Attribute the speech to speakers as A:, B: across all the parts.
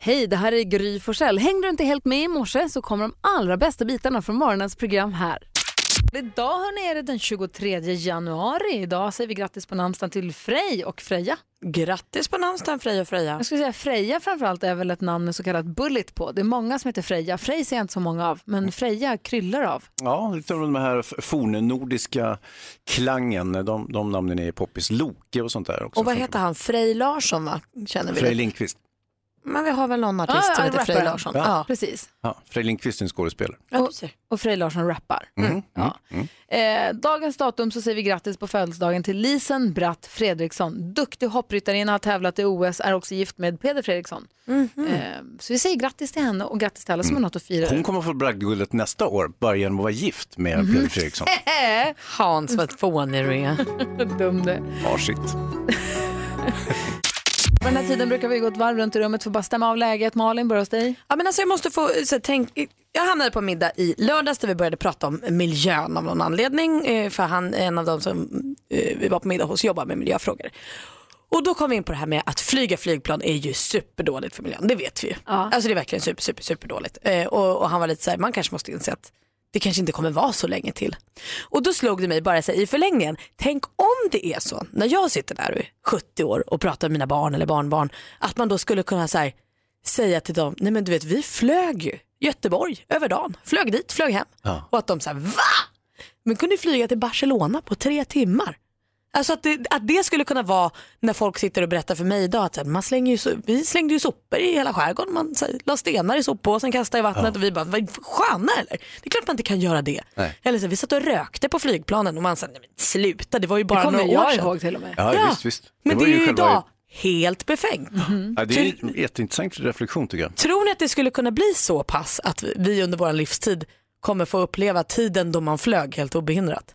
A: Hej, det här är Gry Forssell. Hängde du inte helt med i morse så kommer de allra bästa bitarna från morgonens program här. Idag hörni, är det den 23 januari. Idag säger vi grattis på namnsdagen till Frej och Freja.
B: Grattis på namnsdagen Freja och Freja.
A: Jag skulle säga Freja framförallt är väl ett namn med så kallat bullet på. Det är många som heter Freja. Frej ser jag inte så många av, men Freja kryllar av.
C: Ja, lite av den här f- fornnordiska klangen. De, de namnen är poppis. Loke och sånt där också.
B: Och vad heter han? Frej Larsson va? Känner vi
C: Frej
B: det?
C: Lindqvist.
B: Men vi har väl någon artist
A: Ja,
B: som
A: ja,
B: heter Frej
A: rapparen.
B: Larsson?
C: Ja.
A: Precis.
C: Ja, Frej Lindqvist är en skådespelare.
B: Ja, du ser.
A: Och Frej Larsson rappar.
C: Mm.
A: Ja. Eh, dagens datum så säger vi grattis på födelsedagen till Lisen Bratt Fredriksson. Duktig hoppryttarinna, har tävlat i OS, är också gift med Peder Fredriksson. Eh, så vi säger grattis till henne och grattis till alla som har något att fira.
C: Mm. Hon kommer få bragdguldet nästa år, bara genom att vara gift med
B: Mm.
C: Peder Fredriksson.
A: Äh,
B: Hans, vad fånig du är.
A: vad dum du är.
C: Varsitt.
A: På den här tiden brukar vi gå ett varv runt i rummet för att bara stämma av läget. Malin, börja hos dig.
B: Ja, men alltså jag måste få, så här, tänk, jag hamnade på middag i lördags där vi började prata om miljön av någon anledning. eh, För han är en av de som eh, vi var på middag hos jobbar med miljöfrågor. Och då kom vi in på det här med att flyga flygplan är ju superdåligt för miljön, det vet vi ju. Alltså det är verkligen super, super, superdåligt. Eh, och, och han var lite så här, man kanske måste inse att det kanske inte kommer vara så länge till. Och då slog det mig bara så här, i förlängningen, tänk om det är så när jag sitter där och är 70 år och pratar med mina barn eller barnbarn, att man då skulle kunna så här, säga till dem, nej men du vet vi flög ju Göteborg över dagen, flög dit, flög hem.
C: Ja.
B: Och att de säger va? Men kunde ju flyga till Barcelona på tre timmar. Alltså att det, att det skulle kunna vara när folk sitter och berättar för mig idag att så här, man slänger ju, so- vi slängde ju sopor i hela skärgården, man så här, la stenar i soppåsen, kastade i vattnet och vi bara, vad sköna eller? Det är klart man inte kan göra det.
C: Nej.
B: Eller så här, vi satt och rökte på flygplanen och man sa, nej men sluta, det var ju
A: Det
B: bara
A: kommer
B: några år
A: jag
B: sedan.
A: ihåg till och med.
C: Ja,
B: Ja,
C: visst, visst.
B: Men det,
C: var
B: är ju
C: själva-
B: idag helt befängt.
A: Mm-hmm.
C: Ja, det är en jätteintressant reflektion tycker jag.
B: Tror ni att det skulle kunna bli så pass att vi under vår livstid kommer få uppleva tiden då man flög helt obehindrat?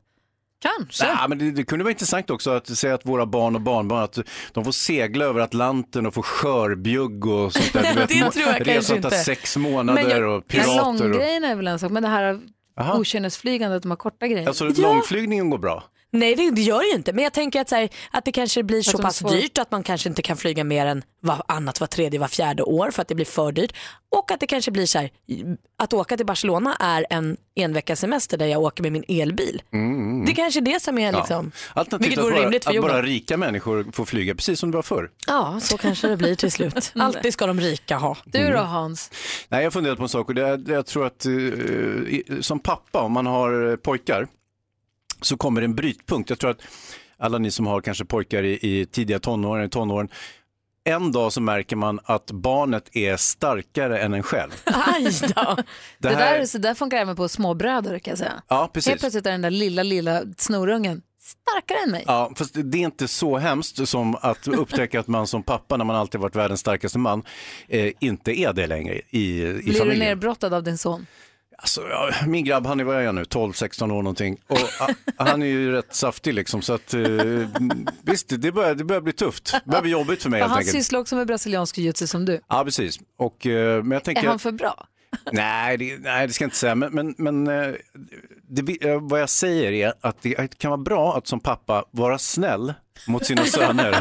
A: Kanske.
C: Ja, men det, det kunde vara intressant också att säga att våra barn och barnbarn att de får segla över Atlanten och få skörbjugg och sånt där. Du
B: Det tror jag
C: må-
B: kanske
C: resan tar
B: inte.
C: sex månader
B: Men jag-
C: och
A: Men
C: pirater. Och,
A: långgrejerna är väl en sak, men det här
C: Aha.
A: okynnesflygandet, de här korta grejerna.
C: alltså långflygningen går bra.
B: Nej det, det gör det ju inte men jag tänker att, så här, att det kanske blir så
A: de
B: pass
A: får-
B: dyrt att man kanske inte kan flyga mer än var, annat var tredje, var fjärde år för att det blir för dyrt. Och att det kanske blir så här, att åka till Barcelona är en enveckasemester semester där jag åker med min elbil.
C: Mm,
B: Det kanske är det som är liksom,
C: Alternativt
B: vilket
C: att
B: vore
C: bara,
B: rimligt för
C: att bara
B: jorden.
C: rika människor får flyga precis som det var förr.
B: Ja så kanske det blir till slut. Alltid ska de rika ha.
A: Mm. Du
C: Mm.
A: då Hans?
C: Nej, jag har funderat på en sak och det är, det- jag tror att eh, i- som pappa, om man har eh, pojkar, så kommer det en brytpunkt. Jag tror att alla ni som har kanske pojkar i, i tidiga tonåren, i tonåren, en dag så märker man att barnet är starkare än en själv.
B: Aj då.
A: Det, där, så där funkar även på småbröder kan jag säga.
C: Ja,
A: Helt
C: precis.
A: plötsligt är den där lilla, lilla snorungen starkare än mig.
C: Ja, fast det är inte så hemskt som att upptäcka att man som pappa, när man alltid varit världens starkaste man, eh, inte är det längre i, i
A: Blir du
C: familjen.
A: nerbrottad av din son?
C: Alltså, ja, min grabb, han är, vad är jag nu, 12-16 år någonting. Och, a- han är ju rätt saftig liksom, så att eh, m- visst, det börjar, det börjar bli tufft. Det börjar bli jobbigt för mig
A: För
C: helt
A: han
C: enkelt.
A: sysslar också med brasiliansk jiu-jitsu som du.
C: Ja, precis. Och, eh, men jag
A: Är
C: tänker,
A: han för bra?
C: nej, det, nej, det ska jag inte säga, men, men, men eh, det, vi- eh, vad jag säger är att det kan vara bra att som pappa vara snäll mot sina söner.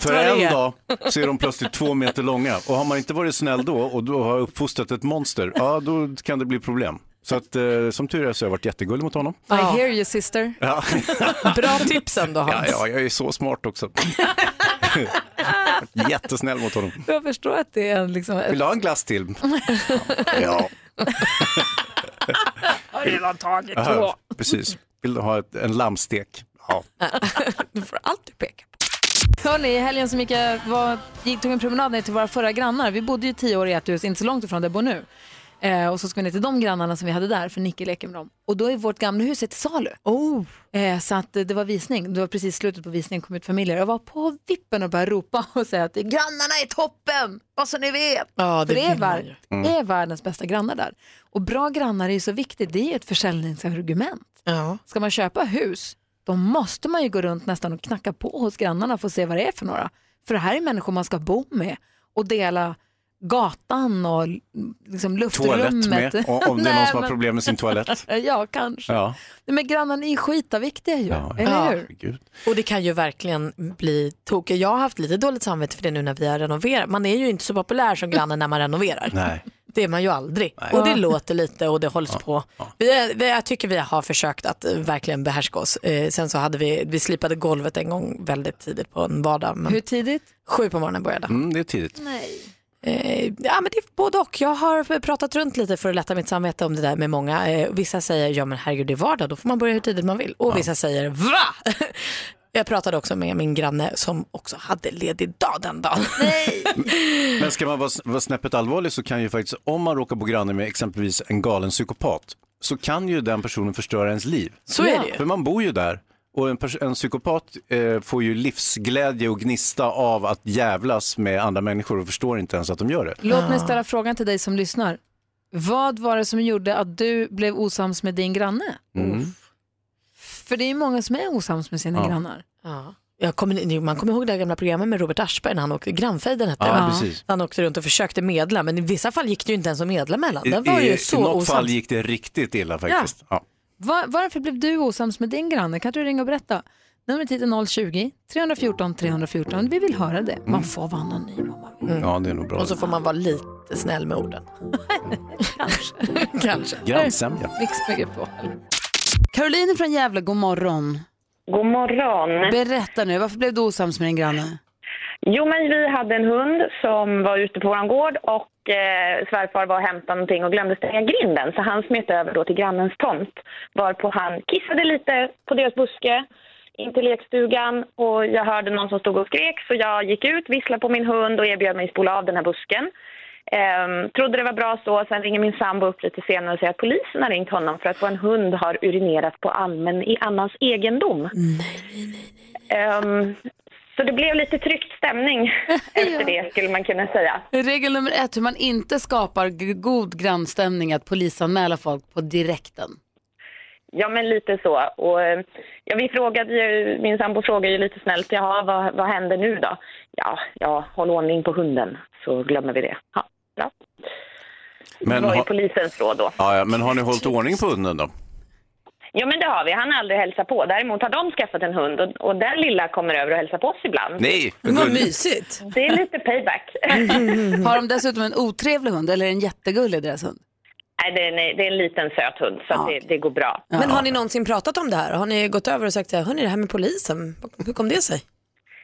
C: För en dag så är de plötsligt två meter långa och har man inte varit snäll då och då har uppfostrat ett monster, ja då kan det bli problem. Så att eh, som tur är så har jag varit jättegullig mot honom.
B: Ja.
A: I hear you sister.
C: Ja,
B: Bra tips ändå Hans.
C: ja, ja jag är så smart också. Jättesnäll mot honom.
A: Jag förstår att det är en, liksom,
C: Vill du ha en glass till? Ja. Jag har redan tagit två. Precis. Vill du ha ett, en lammstek? Ja.
B: Du får alltid peka på.
A: Hörni, i helgen som gick jag var, gick, tog en promenad ner till våra förra grannar. Vi bodde ju tio år i ett hus, inte så långt ifrån där jag bor nu. Eh, och så ska vi ner till de grannarna som vi hade där, för Nicke leker med dem. Och då är vårt gamla hus till salu.
B: Oh.
A: Eh, så att eh, det var visning, det var precis slutet på visningen, kom ut familjer. Jag var på vippen och började ropa och säga att grannarna är toppen, vad så ni vet.
B: Ja,
A: För det är,
B: vill man ju.
A: vär- det är världens bästa grannar där. Och bra grannar är ju så viktigt, det är ju ett försäljningsargument.
B: Ja.
A: Ska man köpa hus, då måste man ju gå runt nästan och knacka på hos grannarna för att se vad det är för några. För det här är människor man ska bo med och dela
D: gatan och liksom
C: Toalett
D: luftrummet.
C: med, o- om det är någon
D: Nej,
C: som har
D: men-
C: problem med sin toalett.
D: Ja, kanske.
C: Ja,
D: Nej, Men grannarna är skitaviktiga ju,
C: Ja.
D: eller hur?
C: herregud.
B: Och det kan ju verkligen bli tokigt. Jag har haft lite dåligt samvete för det nu när vi har renoverat. Man är ju inte så populär som grannen när man renoverar.
C: Nej.
B: Det är man ju aldrig.
C: Nej.
B: Och det låter lite och det hålls på. Vi är, vi, jag tycker vi har försökt att eh, verkligen behärska oss. Eh, sen så hade vi, vi slipade golvet en gång väldigt tidigt på en vardag. Men
D: Hur tidigt?
B: Sju på morgonen började.
C: Mm, det är tidigt.
D: Nej.
B: Eh, ja, men det är både och. Jag har pratat runt lite för att lätta mitt samvete om det där med många. Eh, vissa säger, ja men herregud det är vardag, då får man börja hur tidigt man vill. Och vissa säger, va? jag pratade också med min granne som också hade ledig dag den dagen.
C: Men ska man vara, vara snäppet allvarlig så kan ju faktiskt, om man råkar på grannen med exempelvis en galen psykopat, så kan ju den personen förstöra ens liv.
B: Så är det ju.
C: För man bor ju där. Och en, pers- en psykopat eh, får ju livsglädje och gnista av att jävlas med andra människor och förstår inte ens att de gör det.
D: Låt mig ställa frågan till dig som lyssnar. Vad var det som gjorde att du blev osams med din granne?
C: Mm.
D: För det är ju många som är osams med sina
C: Ja.
D: grannar.
B: Ja. Jag kommer, man kommer ihåg det här gamla programmet med Robert Aschberg när han åkte, Grannfejden hette
C: Ja,
B: det.
C: precis.
B: Han åkte runt och försökte medla men i vissa fall gick det ju inte ens att medla mellan.
C: I,
B: Den var ju
C: i, I
B: så
C: något fall
B: osams.
C: gick det riktigt illa faktiskt. Ja.
D: Va- varför blev du osams med din granne? Kan inte du ringa och berätta? Numret hit är 020-314 314. Vi vill höra det. Man får vara anonym om man vill.
C: Ja. det är nog bra.
B: Mm.
C: Mm.
B: Och så får man vara lite snäll med orden. Kanske. Kanske.
C: Grannsämja.
D: Mix Megapol.
A: Caroline från Gävle, god morgon.
E: God morgon.
A: Berätta nu, varför blev du osams med din granne?
E: Jo, men vi hade en hund som var ute på vår gård och eh, svärfar var och hämtade någonting och glömde stänga grinden så han smet över då till grannens tomt varpå han kissade lite på deras buske in till lekstugan och jag hörde någon som stod och skrek så jag gick ut, visslade på min hund och erbjöd mig att spola av den här busken. Ehm, trodde det var bra så, sen ringer min sambo upp lite senare och säger att polisen har ringt honom för att vår hund har urinerat på allmän i annans egendom. Ehm, så det blev lite tryckt stämning efter det skulle man kunna säga.
A: Regel nummer ett, hur man inte skapar g- god grannstämning, att polisanmäla folk på direkten.
E: Ja men lite så. Och, eh, ja, vi frågade ju, min sambo frågade ju lite snällt, jaha vad, vad händer nu då? Ja, ja, håll ordning på hunden så glömmer vi det. Ja, bra.
C: Men,
E: det var ju
C: ha,
E: polisens råd då.
C: ja, ja, men har ni hållit ordning på hunden då?
E: Ja men det har vi, han har aldrig hälsat på. Däremot har de skaffat en hund och, och den lilla kommer över och hälsar på oss ibland.
C: Nej,
F: Vad
C: gulligt.
F: mysigt.
E: Det är lite payback.
A: Har de dessutom en otrevlig hund eller en jättegullig deras hund?
E: Nej, det, är, en- det är en liten söt hund så att det, det går bra.
F: Men har ni någonsin pratat om det här? Har ni gått över och sagt, så här, hörni det här med polisen, hur kom det sig?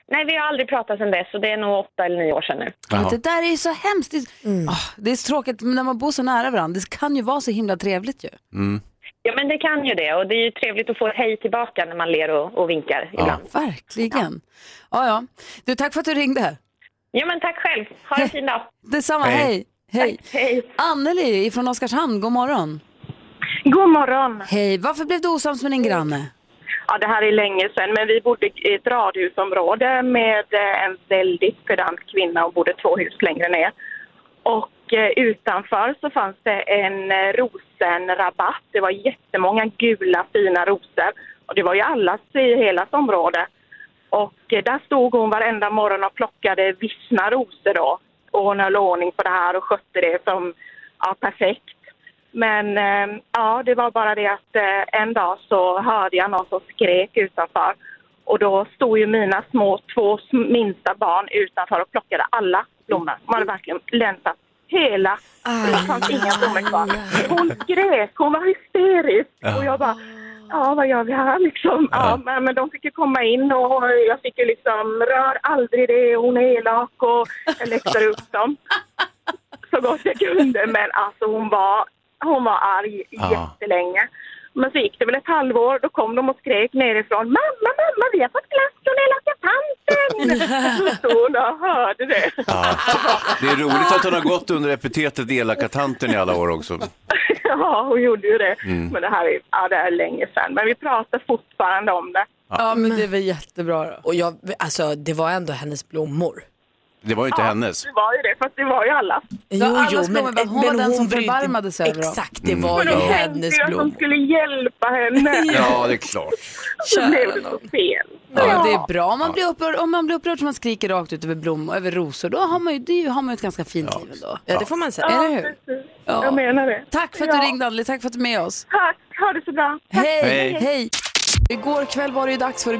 E: Nej vi har aldrig pratat sedan dess så det är nog åtta eller nio år sedan nu.
A: Ja,
C: Jaha.
A: Det där är ju så hemskt. Det är, Ah, det är så tråkigt, men när man bor så nära varandra, det kan ju vara så himla trevligt ju.
E: Ja, men det kan ju det. Och det är ju trevligt att få ett hej tillbaka när man ler och, och vinkar ibland.
A: Verkligen. Ja, ja. Du, tack för att du ringde.
E: Ja, men tack själv. Ha en fin dag.
A: Detsamma,
C: Hej.
A: hej. Hej.
E: Hej.
A: Anneli från Oskarshamn, god morgon.
G: God morgon!
A: Hej, varför blev du osams med din granne?
G: Ja, det här är länge sedan, men vi bodde i ett radhusområde med eh, en väldigt pedant kvinna och bodde två hus längre ner. Och eh, utanför så fanns det en eh, rosenrabatt. Det var jättemånga gula fina rosor och det var ju allas i hela området. Och eh, där stod hon varenda morgon och plockade vissna rosor då. Och hon höll ordning på det här och skötte det som ja, perfekt. Men eh, ja, det var bara det att eh, en dag så hörde jag någon som skrek utanför. Och då stod ju mina små, två sm- minsta barn utanför och plockade alla blommor. Man hade verkligen länsat hela. Det fanns inga blommor kvar. Hon skrek, hon var hysterisk. Och jag bara, ja vad gör vi här liksom? Ja, men, men de fick ju komma in och jag fick ju liksom, rör aldrig det, hon är elak och jag läxade upp dem så gott jag kunde. Men alltså hon var, hon var arg
C: Ja.
G: jättelänge. Men så gick det väl ett halvår, då kom de och skrek nerifrån. Mamma, mamma, vi har fått glass från elaka tanten! Så stod hon och hörde det.
C: Ja. Det är roligt att hon har gått under epitetet elaka tanten i alla år också.
G: Ja, hon gjorde ju det. Men det här är, ja, det är länge sedan. Men vi pratar fortfarande om det.
A: Ja, men det är väl jättebra då.
F: Och jag, alltså, det var ändå hennes blommor.
C: Det var ju inte hennes.
G: Det var ju det, fast det var ju alla.
A: Jo, allas blommor, men hon var den som
B: brydde-
A: förbarmade sig över dem.
B: Exakt, det
C: Mm.
B: var
G: Men
B: ju
G: de tänkte
B: hennes
G: ju att de
B: blommor.
G: skulle hjälpa henne.
C: Ja, det är klart.
G: Så blev det så fel.
A: Ja, det är bra om man blir upprörd, om man blir upprörd så man skriker rakt ut över blommor, över rosor. Då har man ju, det är ju, har man ju ett ganska fint liv ändå.
B: Ja, det får man säga.
A: Eller hur?
G: precis. Jag menar det.
A: Tack för att du
G: Ja.
A: ringde Anneli, tack för att du är med oss.
G: Tack, ha det så bra.
A: Hej!
C: Hej.
A: Hej! Igår kväll var det ju dags för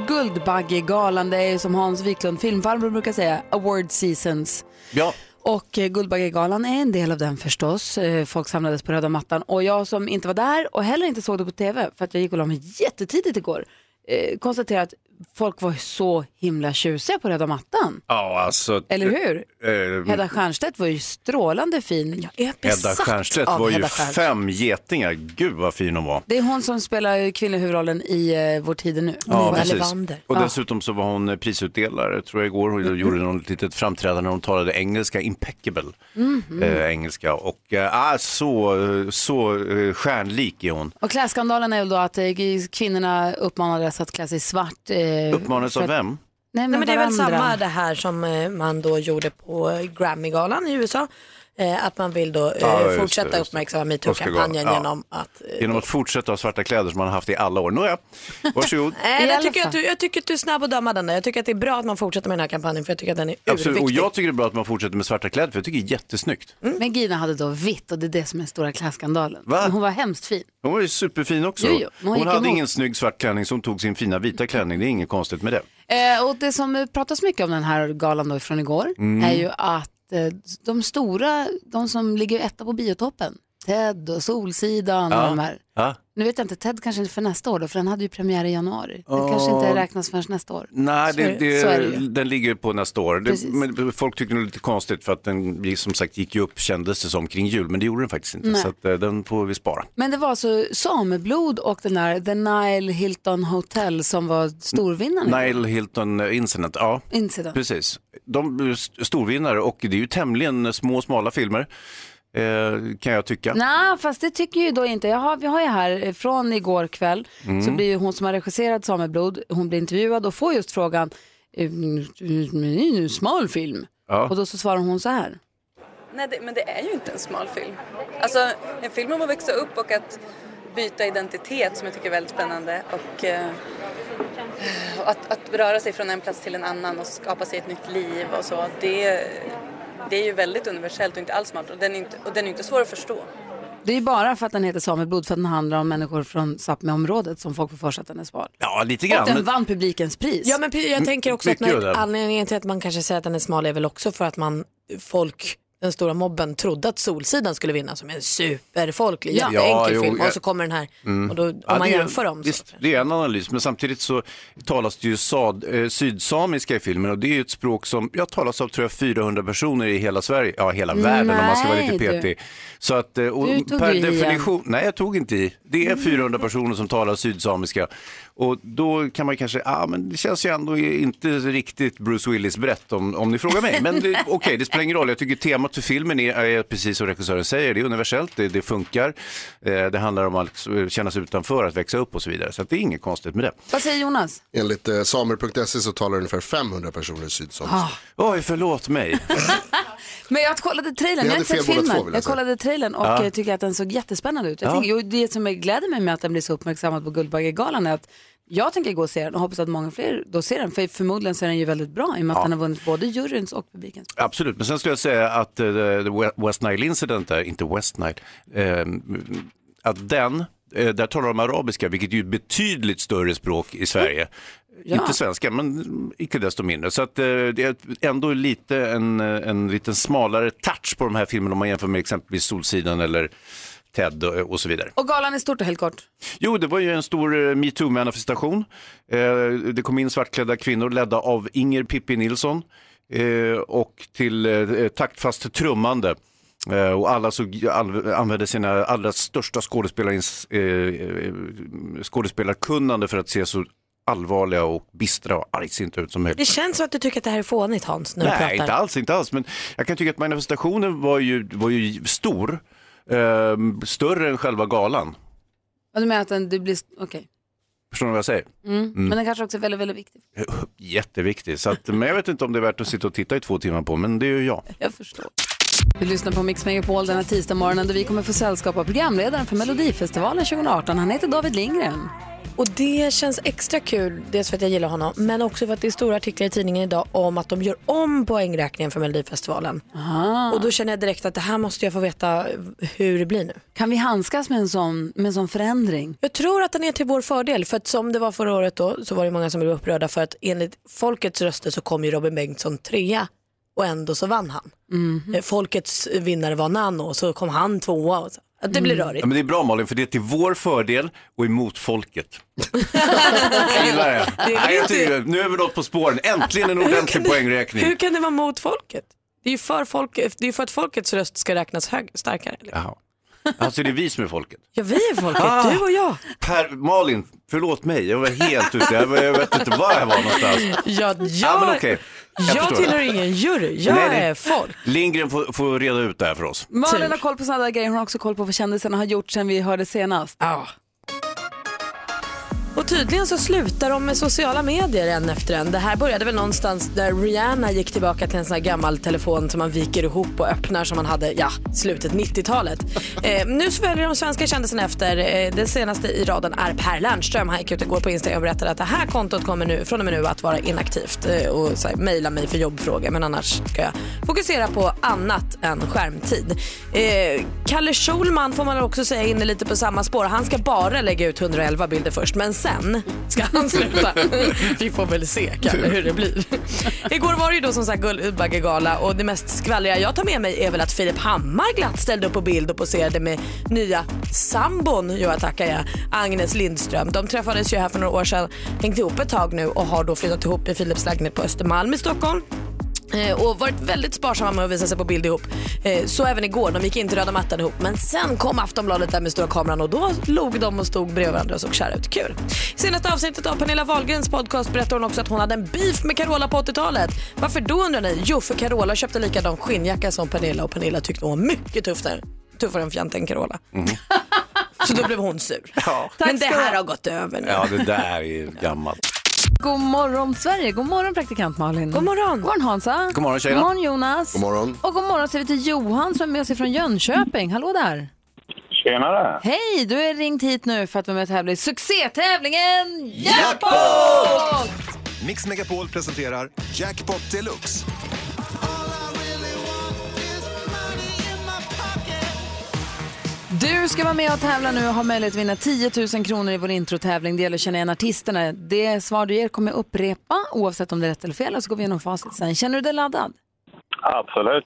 A: Guldbaggegalan. Det är ju som Hans Wiklund, filmfarbror, brukar säga, award seasons.
C: Ja,
A: Och eh, Guldbaggegalan är en del av den förstås. Eh, Folk samlades på röda mattan och jag som inte var där och heller inte såg det på tv för att jag gick och la mig jättetidigt igår eh, konstaterade att folk var så himla tjusiga på röda mattan.
C: ja alltså.
A: Eller hur?
C: eh,
A: Hedda Stiernstedt var ju strålande fin.
B: Jag är
C: Hedda
B: besatt
C: Stiernstedt
B: av
C: var ju
B: Hedda Stiernstedt.
C: fem getingar. Gud vad fin hon var.
A: Det är hon som spelar kvinnliga huvudrollen i eh, Vår tid är nu.
C: Ja,
B: var
C: precis.
B: Levander.
C: Och dessutom så var hon eh, prisutdelare tror jag igår.
B: Mm.
C: Hon gjorde något litet framträdande när hon talade engelska, impeccable
B: Mm.
A: Mm-hmm.
C: eh, engelska. Och eh, ah, så, så eh, stjärnlik är hon.
A: Och klädskandalen är väl då att eh, kvinnorna uppmanades att klä sig svart. Eh,
C: Uppmanades av vem?
A: Nej, men,
B: Nej, men det är väl
A: varandra.
B: samma det här som eh, man då gjorde på eh, Grammygalan i USA. Eh, att man vill då eh,
C: Ja, just det,
B: fortsätta
C: just det.
B: uppmärksamma metoo-kampanjen
C: Oscargalan, ja.
B: genom att... Eh,
C: Genom att fortsätta ha svarta kläder som man har haft i alla år. Nåja, varsågod.
B: Nej,
A: I
B: Eh, jag
A: alla
B: tycker,
A: fall.
B: att du, jag tycker att du är snabb att döma den där. Jag tycker att det är bra att man fortsätter med den här kampanjen för jag tycker att den är
C: Absolut.
B: urviktig.
C: Och jag tycker det är bra att man fortsätter med svarta kläder för jag tycker det är jättesnyggt.
A: Men Gina hade då vitt och det är det som är den stora klädskandalen.
C: Mm. Va?
A: Men Hon var hemskt fin.
C: Hon var ju superfin också.
A: Jo, jo, men hon
C: Hon
A: gick
C: hade
A: emot.
C: ingen snygg svart klänning så hon tog sin fina vita klänning. Det är inget konstigt med det.
A: Eh, och det som eh, pratas mycket om den här galan då från igår
C: Mm.
A: är ju att eh, de stora, de som ligger etta på biotoppen, Ted och Solsidan och
C: Ja.
A: de här.
C: Ja.
A: Nu vet jag inte, Ted kanske för nästa år då, för den hade ju premiär i januari. Det kanske inte räknas förrän nästa år.
C: Nej, det,
A: så är
C: det,
A: det ju.
C: den ligger på nästa år. Det,
A: Precis.
C: men folk tyckte det var lite konstigt för att den gick- som sagt gick ju upp kändes det som kring jul, men det gjorde den faktiskt inte.
A: Nej.
C: Så att, eh, den får vi spara.
A: Men det var så Sameblod och den där The Nile Hilton Hotel som var storvinnaren.
C: Nile Hilton eh, Incident, ja.
A: Incident.
C: Precis. De är st- storvinnare och det är ju tämligen små, smala filmer eh, kan jag tycka.
A: Nej, fast det tycker ju då inte. Jag har, vi har ju här eh, från igår kväll så
C: Mm.
A: blir ju hon som har regisserat Sameblod, hon blir intervjuad och får just frågan, "Ehm, men det är ju en smal film.
C: Ja.
A: Och då så svarar hon så här.
H: Nej, det, men det är ju inte en smal film. Alltså, en film om att växa upp och att byta identitet som jag tycker är väldigt spännande. Och, eh, och att, att röra sig från en plats till en annan och skapa sig ett nytt liv och så. Det, det är ju väldigt universellt och inte alls smalt. Och den är inte, och den är inte svår att förstå.
A: Det är ju bara för att den heter Sameblod för att den handlar om människor från Sápmi-området som folk får för sig att den är smal.
C: Ja, lite
A: Och
C: grann.
A: den
C: men-
A: vann publikens pris.
B: Ja men p- jag tänker också att
C: mycket av
B: när,
C: den.
B: anledningen till att man kanske säger att den är smal är väl också för att man, folk, den stora mobben trodde att Solsidan skulle vinna som en superfolklig,
C: Ja.
B: jätteenkel
C: Ja, jo,
B: film och
C: jag-
B: så kommer den här och då, om
C: Mm. Ja,
B: man
C: det är-
B: jämför dem så.
C: Visst, det är en analys, men samtidigt så talas det ju sad, eh, sydsamiska i filmen och det är ju ett språk som jag talas av tror jag 400 personer i hela Sverige, ja hela världen om man ska vara lite
A: Nej, du.
C: petig. Så att, eh, och
A: Du tog
C: per
A: ju i
C: definition, nej jag tog inte i. Det är 400 personer som talar sydsamiska och då kan man kanske, ah, men det känns ju ändå inte riktigt Bruce Willis brett om, om ni frågar mig. Men det- okej, det spelar ingen roll. Jag tycker temat för filmen är, är precis som regissören säger, det är universellt, det, det funkar. Eh, det handlar om att känna sig utanför, att växa upp och så vidare. Så att det är inget konstigt med det.
A: Vad säger Jonas?
I: Enligt eh, samer.se så talar ungefär 500 personer sydsamiska.
J: Ah.
C: Oj, förlåt mig.
A: Men jag kollade trailern,
I: Vi
A: jag har inte
I: hade
A: sett
I: fel båda två,
A: filmen.
I: vill jag
A: jag
I: säga.
A: kollade trailern och eh, tycker att den såg jättespännande ut. Jag
C: Ja.
A: tänker, jo, det som jag gläder mig med att den blir så uppmärksammad på Guldbaggegalan är att jag tänker gå och se den och hoppas att många fler då ser den. För förmodligen så är den ju väldigt bra i och med att den har vunnit både juryns och publikens.
C: Absolut, men sen skulle jag säga att eh, the West Nile incident, där, inte West Nile, eh, att den, eh, där talar de arabiska, vilket ju är ett betydligt större språk i Sverige. Inte svenska, men icke desto mindre. Så att, eh, det är ändå lite en, eh, en liten smalare touch på de här filmerna om man jämför med exempelvis Solsidan eller Ted och, och så vidare.
A: Och galan är stort och helt kort.
C: Jo, det var ju en stor eh, metoo-manifestation. Eh, det kom in svartklädda kvinnor ledda av Inger Pippi Nilsson eh, och till eh, taktfast trummande. Eh, och alla såg, all, använde sina allra största skådespelarins, eh, eh, skådespelarkunnande för att se så allvarliga och bistra och argsinta ut som möjligt.
B: Det känns som att du tycker att det här är fånigt Hans när du
C: Nej,
B: pratar.
C: inte alls, inte alls. Men jag kan tycka att manifestationen var ju, var ju stor. Eh, större än själva galan.
A: Och du menar att den, det blir, okej. Mm.
C: Förstår ni vad jag säger?
I: Mm.
A: Men den kanske också är väldigt, väldigt viktig.
C: Jätteviktig. Så att, men jag vet inte om det är värt att sitta och titta i två timmar på, men det är ju jag.
A: Jag förstår. Vi lyssnar på Mix Megapol den här tisdagsmorgonen då vi kommer få sällskap av programledaren för Melodifestivalen 2018. Han heter David Lindgren.
B: Och det känns extra kul, dels för att jag gillar honom, men också för att det är stora artiklar i tidningen idag om att de gör om poängräkningen för Melodifestivalen. Och då känner jag direkt att det här måste jag få veta hur det blir nu.
A: Kan vi handskas med en sån, med en sån förändring?
B: Jag tror att den är till vår fördel, för att som det var förra året då så var det många som blev upprörda för att enligt folkets röster så kom ju Robin Bengtsson trea och ändå så vann han. Eh, Folkets vinnare var Nano och så kom han tvåa. Och så. Att det blir rörigt.
C: Mm. Ja, men det är bra Malin, för det är till vår fördel och emot folket. jag gillar det. Nej, jag tycker, nu är vi något på spåren. Äntligen en ordentlig poängräkning.
B: Hur kan det vara mot folket? Det är ju för, folk, det är ju för att folkets röst ska räknas hög, starkare. Eller?
C: Jaha. Alltså det är vi som är folket. Ah,
B: Ja, vi är folket, du och jag.
C: Per, Malin, förlåt mig, jag var helt ute, Typ, jag, var- jag vet inte var jag var någonstans.
B: Ja, jag,
C: Ja, men okej.
B: jag,
C: förstår.
B: tillhör ingen jury, jag
C: Nej, nej.
B: är folk.
C: Lindgren får, får reda ut det här för oss.
A: Malin
B: Typ.
A: har koll på sådana där grejer. Hon har också koll på vad kändisarna har gjort sen vi hörde senast.
B: Och tydligen så slutar de med sociala medier en efter en. Det här började väl någonstans där Rihanna gick tillbaka till en sån här gammal telefon som man viker ihop och öppnar som man hade, ja, slutet 90-talet. Eh, nu så följer de svenska kändisarna efter. Eh, den senaste i raden är Per Lernström. Han gick ut igår på Instagram och berättade att det här kontot kommer nu, från och med nu att vara inaktivt eh, och så här, mejla mig för jobbfrågor men annars ska jag fokusera på annat än skärmtid. Eh, Kalle Schulman får man också säga är inne lite på samma spår. Han ska bara lägga ut 111 bilder först men sen ska han sluta. Vi får väl se Kalle hur det blir. Igår var det ju då som sagt Guldbaggegala och det mest skvallriga jag tar med mig är väl att Filip Hammar glatt ställde upp på bild och poserade med nya sambon, jag tackar jag, Agnes Lindström. De träffades ju här för några år sedan, hängt ihop ett tag nu och har då flyttat ihop i Filips lägenhet på Östermalm i Stockholm. Eh, och varit väldigt sparsamma med att visa sig på bild ihop. Eh, Så även igår, de gick inte röda mattan ihop. Men sen kom Aftonbladet där med stora kameran och då log de och stod bredvid varandra och såg kära ut. Kul. I senaste avsnittet av Pernilla Wahlgrens podcast berättar hon också att hon hade en beef med Carola på 80-talet. Varför då undrar ni? Jo, för Carola köpte likadan skinnjacka som Pernilla och Pernilla tyckte hon var mycket tuffare, tuffare än fjanten Carola.
C: Mm.
B: Så då blev hon sur. Men det här har gått över nu.
C: Ja, det där är gammalt.
A: God morgon Sverige, god morgon praktikant Malin.
B: God morgon.
A: God morgon Hansa.
C: God morgon, tjejerna.
A: God morgon Jonas.
E: God morgon.
A: Och god morgon säger vi till Johan som är med sig från Jönköping. Hallå där.
K: Tjenare!
A: Hej, du är ringt hit nu för att vara med och tävla i succétävlingen Jackpot!
L: Mix Megapol presenterar Jackpot Deluxe.
A: Du ska vara med och tävla nu och ha möjlighet att vinna 10 000 kronor i vår introtävling. Det gäller att känna igen artisterna. Det svar du ger kommer jag upprepa oavsett om det är rätt eller fel och så går vi igenom facit sen. Känner du dig laddad?
K: Absolut.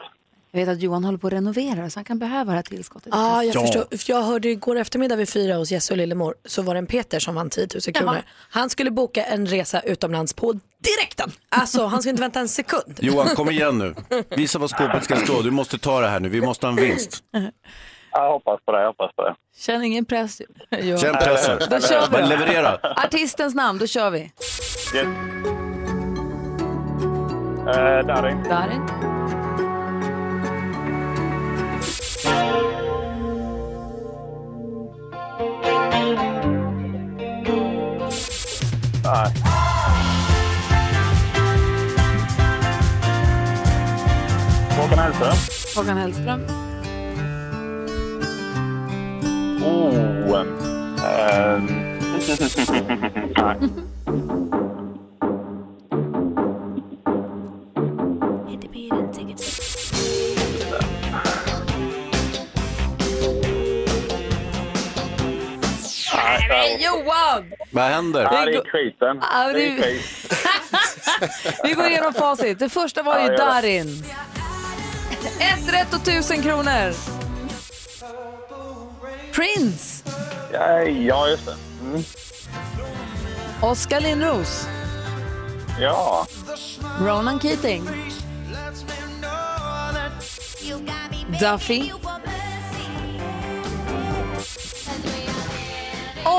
A: Jag vet att Johan håller på att renovera så han kan behöva det här tillskottet.
B: Ja, Ah, jag förstår. För Jag hörde igår eftermiddag vid fyra hos Jesse och Lillemor så var det en Peter som vann 10 000 kronor. Han skulle boka en resa utomlands på direkten. Alltså han skulle inte vänta en sekund.
C: Johan, kom igen nu. Visa vad skåpet ska stå. Du måste ta det här nu. Vi måste ha en vinst.
K: Jag hoppas på det, jag hoppas på det.
A: Känn ingen press. Johan.
C: Känn pressen.
A: Då kör vi
C: Bara
A: då.
C: leverera.
A: Artistens namn, då kör vi.
K: Yes. Eh, Darin.
A: Darin.
K: Nej. Håkan Hellström.
A: Håkan Hellström.
K: Oh. Eh, nej. Nej,
A: Johan!
C: Vad händer?
K: Ja, det är skiten.
A: Ja,
K: Det
A: det-
K: är skit.
A: Vi går igenom facit. Det första var ju
K: Ja, gör det.
A: Darin. Ett rätt och tusen kronor. Prince.
K: Ja, ja, just det. Mm.
A: Oskar Lindros.
K: Ja.
A: Ronan Keating. Duffy.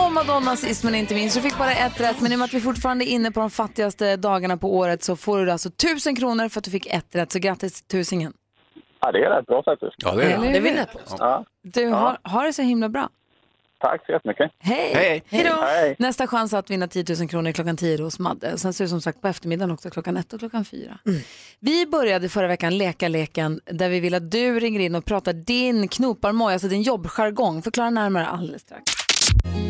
A: Och Madonna sist men inte minst. Du fick bara ett rätt, men i och med att vi fortfarande är inne på de fattigaste dagarna på året så får du alltså tusen kronor för att du fick ett rätt. Så grattis till tusingen.
K: ja, det är rätt bra faktiskt.
C: Ja, det är det.
A: Eller hur?
B: Det vill jag påstå.
K: Ja.
A: Du har, har det så himla bra.
K: Tack så jättemycket.
A: Hej!
C: Hej.
A: Hejdå.
K: Hej.
A: Nästa chans att vinna 10 000 kronor är klockan 10 hos Madde. Sen ser det som sagt på eftermiddagen också klockan 1 och klockan 4.
B: Mm.
A: Vi började förra veckan leka leken där vi vill att du ringer in och pratar din knoparmoj, alltså din jobbjargong. Förklara närmare alldeles strax.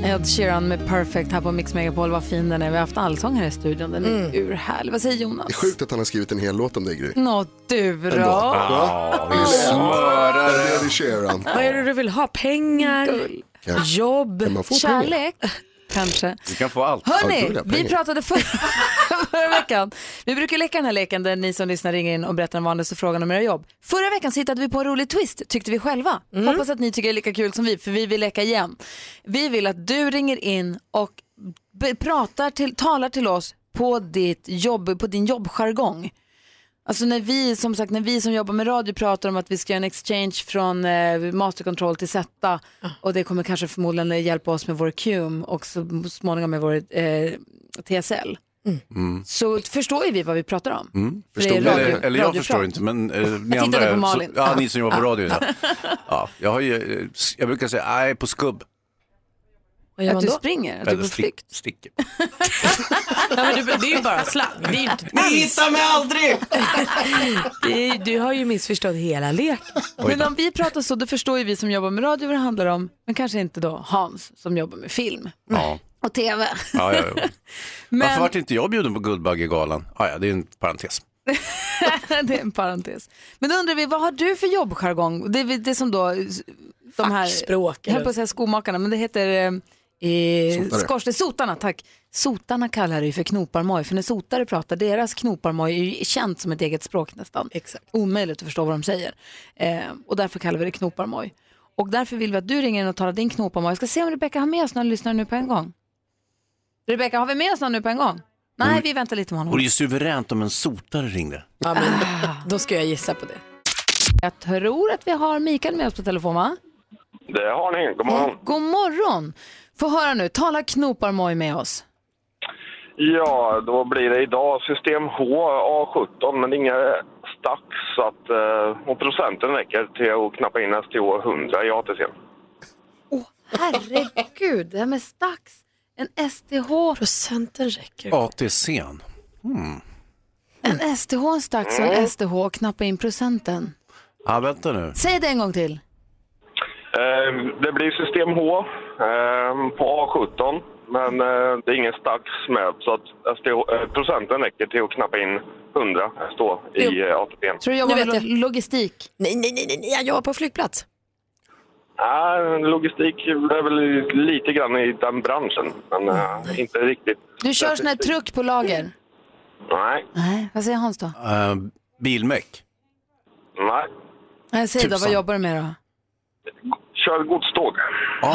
A: Ed Sheeran med Perfect här på Mix Megapol. Vad fin den är. Vi har haft allsångare i studion. Den är urhärlig. Vad säger Jonas?
I: Det är sjukt att han har skrivit en hel låt om dig Gry.
A: Nå, du då.
I: Ändå. Va? Smörare. Det är Ed
J: Vad
I: Sheeran.
J: är det du vill ha? Pengar?
A: Gull.
I: Kanske.
J: Jobb?
I: Kan man få pengar?
A: Kärlek, kanske.
C: Du kan få allt.
I: Allt
A: Hörni,
I: roliga
A: vi
I: pengar.
A: pratade för, förra veckan. Vi brukar leka den här leken där ni som lyssnar ringer in och berättar den vanligaste frågan om era jobb. Förra veckan så hittade vi på en rolig twist, tyckte vi själva.
J: Mm.
A: Hoppas att ni tycker det är lika kul som vi, för vi vill leka igen. Vi vill att du ringer in och be- pratar till, talar till oss på, ditt jobb, på din jobbjargong. Alltså när vi, som sagt, när vi som jobbar med radio pratar om att vi ska göra en exchange från eh, masterkontroll till Zeta
J: Ah.
A: och det kommer kanske förmodligen hjälpa oss med vår QM och så småningom med vår eh, TSL.
J: Mm.
C: Mm.
A: Så förstår ju vi vad vi pratar om. För det är
I: Förstod ni
A: radio,
I: det?
C: Eller, eller jag
A: radioprat.
C: förstår inte, men eh, ni
A: tittade
C: andra,
A: på
C: så,
A: Malin.
C: ja, ni som jobbar på radio. Ja. Ja, jag, har ju, eh, s- jag brukar säga, nej, på skubb.
J: Vad gör
A: Att
J: man
A: du
J: då?
A: springer, att du är
C: Eller
A: på
C: stick-
A: flykt.
C: sticker.
J: Nej, men du, det är ju bara slang. Det är ju inte,
C: Ni hittar mig aldrig!
J: det är, du har ju missförstått hela leken.
A: Men om vi pratar så, då förstår ju vi som jobbar med radio vad det handlar om, men kanske inte då Hans som jobbar med film
C: Ja,
A: och TV.
C: ja, ja, ja. Varför
A: Men
C: vart inte jag bjuden på Guldbaggegalan? Ah, ja, det är en parentes.
A: det är en parentes. Men då undrar vi, vad har du för jobbjargong? Det är väl det som då de här...
J: Fackspråk.
A: Jag höll på
J: Eller?
A: att säga skomakarna, men det heter eh, eh,
I: Sotare.
A: skorsten, sotarna, tack. Sotarna kallar det ju för knoparmoj, för när sotare pratar, deras knoparmoj är ju känt som ett eget språk nästan.
J: Exakt.
A: Omöjligt att förstå vad de säger. Eh, och därför kallar vi det knoparmoj. Och därför vill vi att du ringer in och talar din knoparmoj. Jag ska se om Rebecka har med oss någon lyssnare nu på en gång. Rebecka, har vi med oss någon nu på en gång? Nej, vi väntar lite med
C: Och det är
A: honom.
C: ju suveränt om en sotare ringde.
J: Ja, men, då ska jag gissa på det.
A: Jag tror att vi har Mikael med oss på telefon, va?
K: Det har ni. God morgon.
A: God morgon! Få höra nu, tala knoparmoj med oss.
K: Ja, då blir det idag system H A17, men det är inga stack så att eh, och procenten räcker till att knappa in STH 100 i ATC.
A: Herregud, det här med stax, en STH,
J: Procenten räcker.
C: ATC'n. Hmm.
A: en STH, en stax och
J: Mm.
A: en STH och knappa in procenten.
C: Ja, vänta nu.
A: Säg det en gång till.
K: Eh, det blir system H eh, på A17, men eh, det är ingen stax med så att STH, eh, procenten räcker till att knappa in 100 stå i eh, ATC.
A: Tror du jobbar
J: Nu
A: med
J: vet
A: lo- logistik?
J: Nej, nej, nej, nej, nej, jag jobbar på flygplats.
K: Nej, logistik är väl lite grann i den branschen, men eh, inte riktigt.
A: Du kör sån här truck på lager?
K: Nej,
A: Nej, vad säger Hans då?
C: Eh, bilmek.
K: nej.
A: Nej, Eh, säg då, vad
C: Tusan.
A: jobbar du med då?
K: Kör godståg.
C: Ah,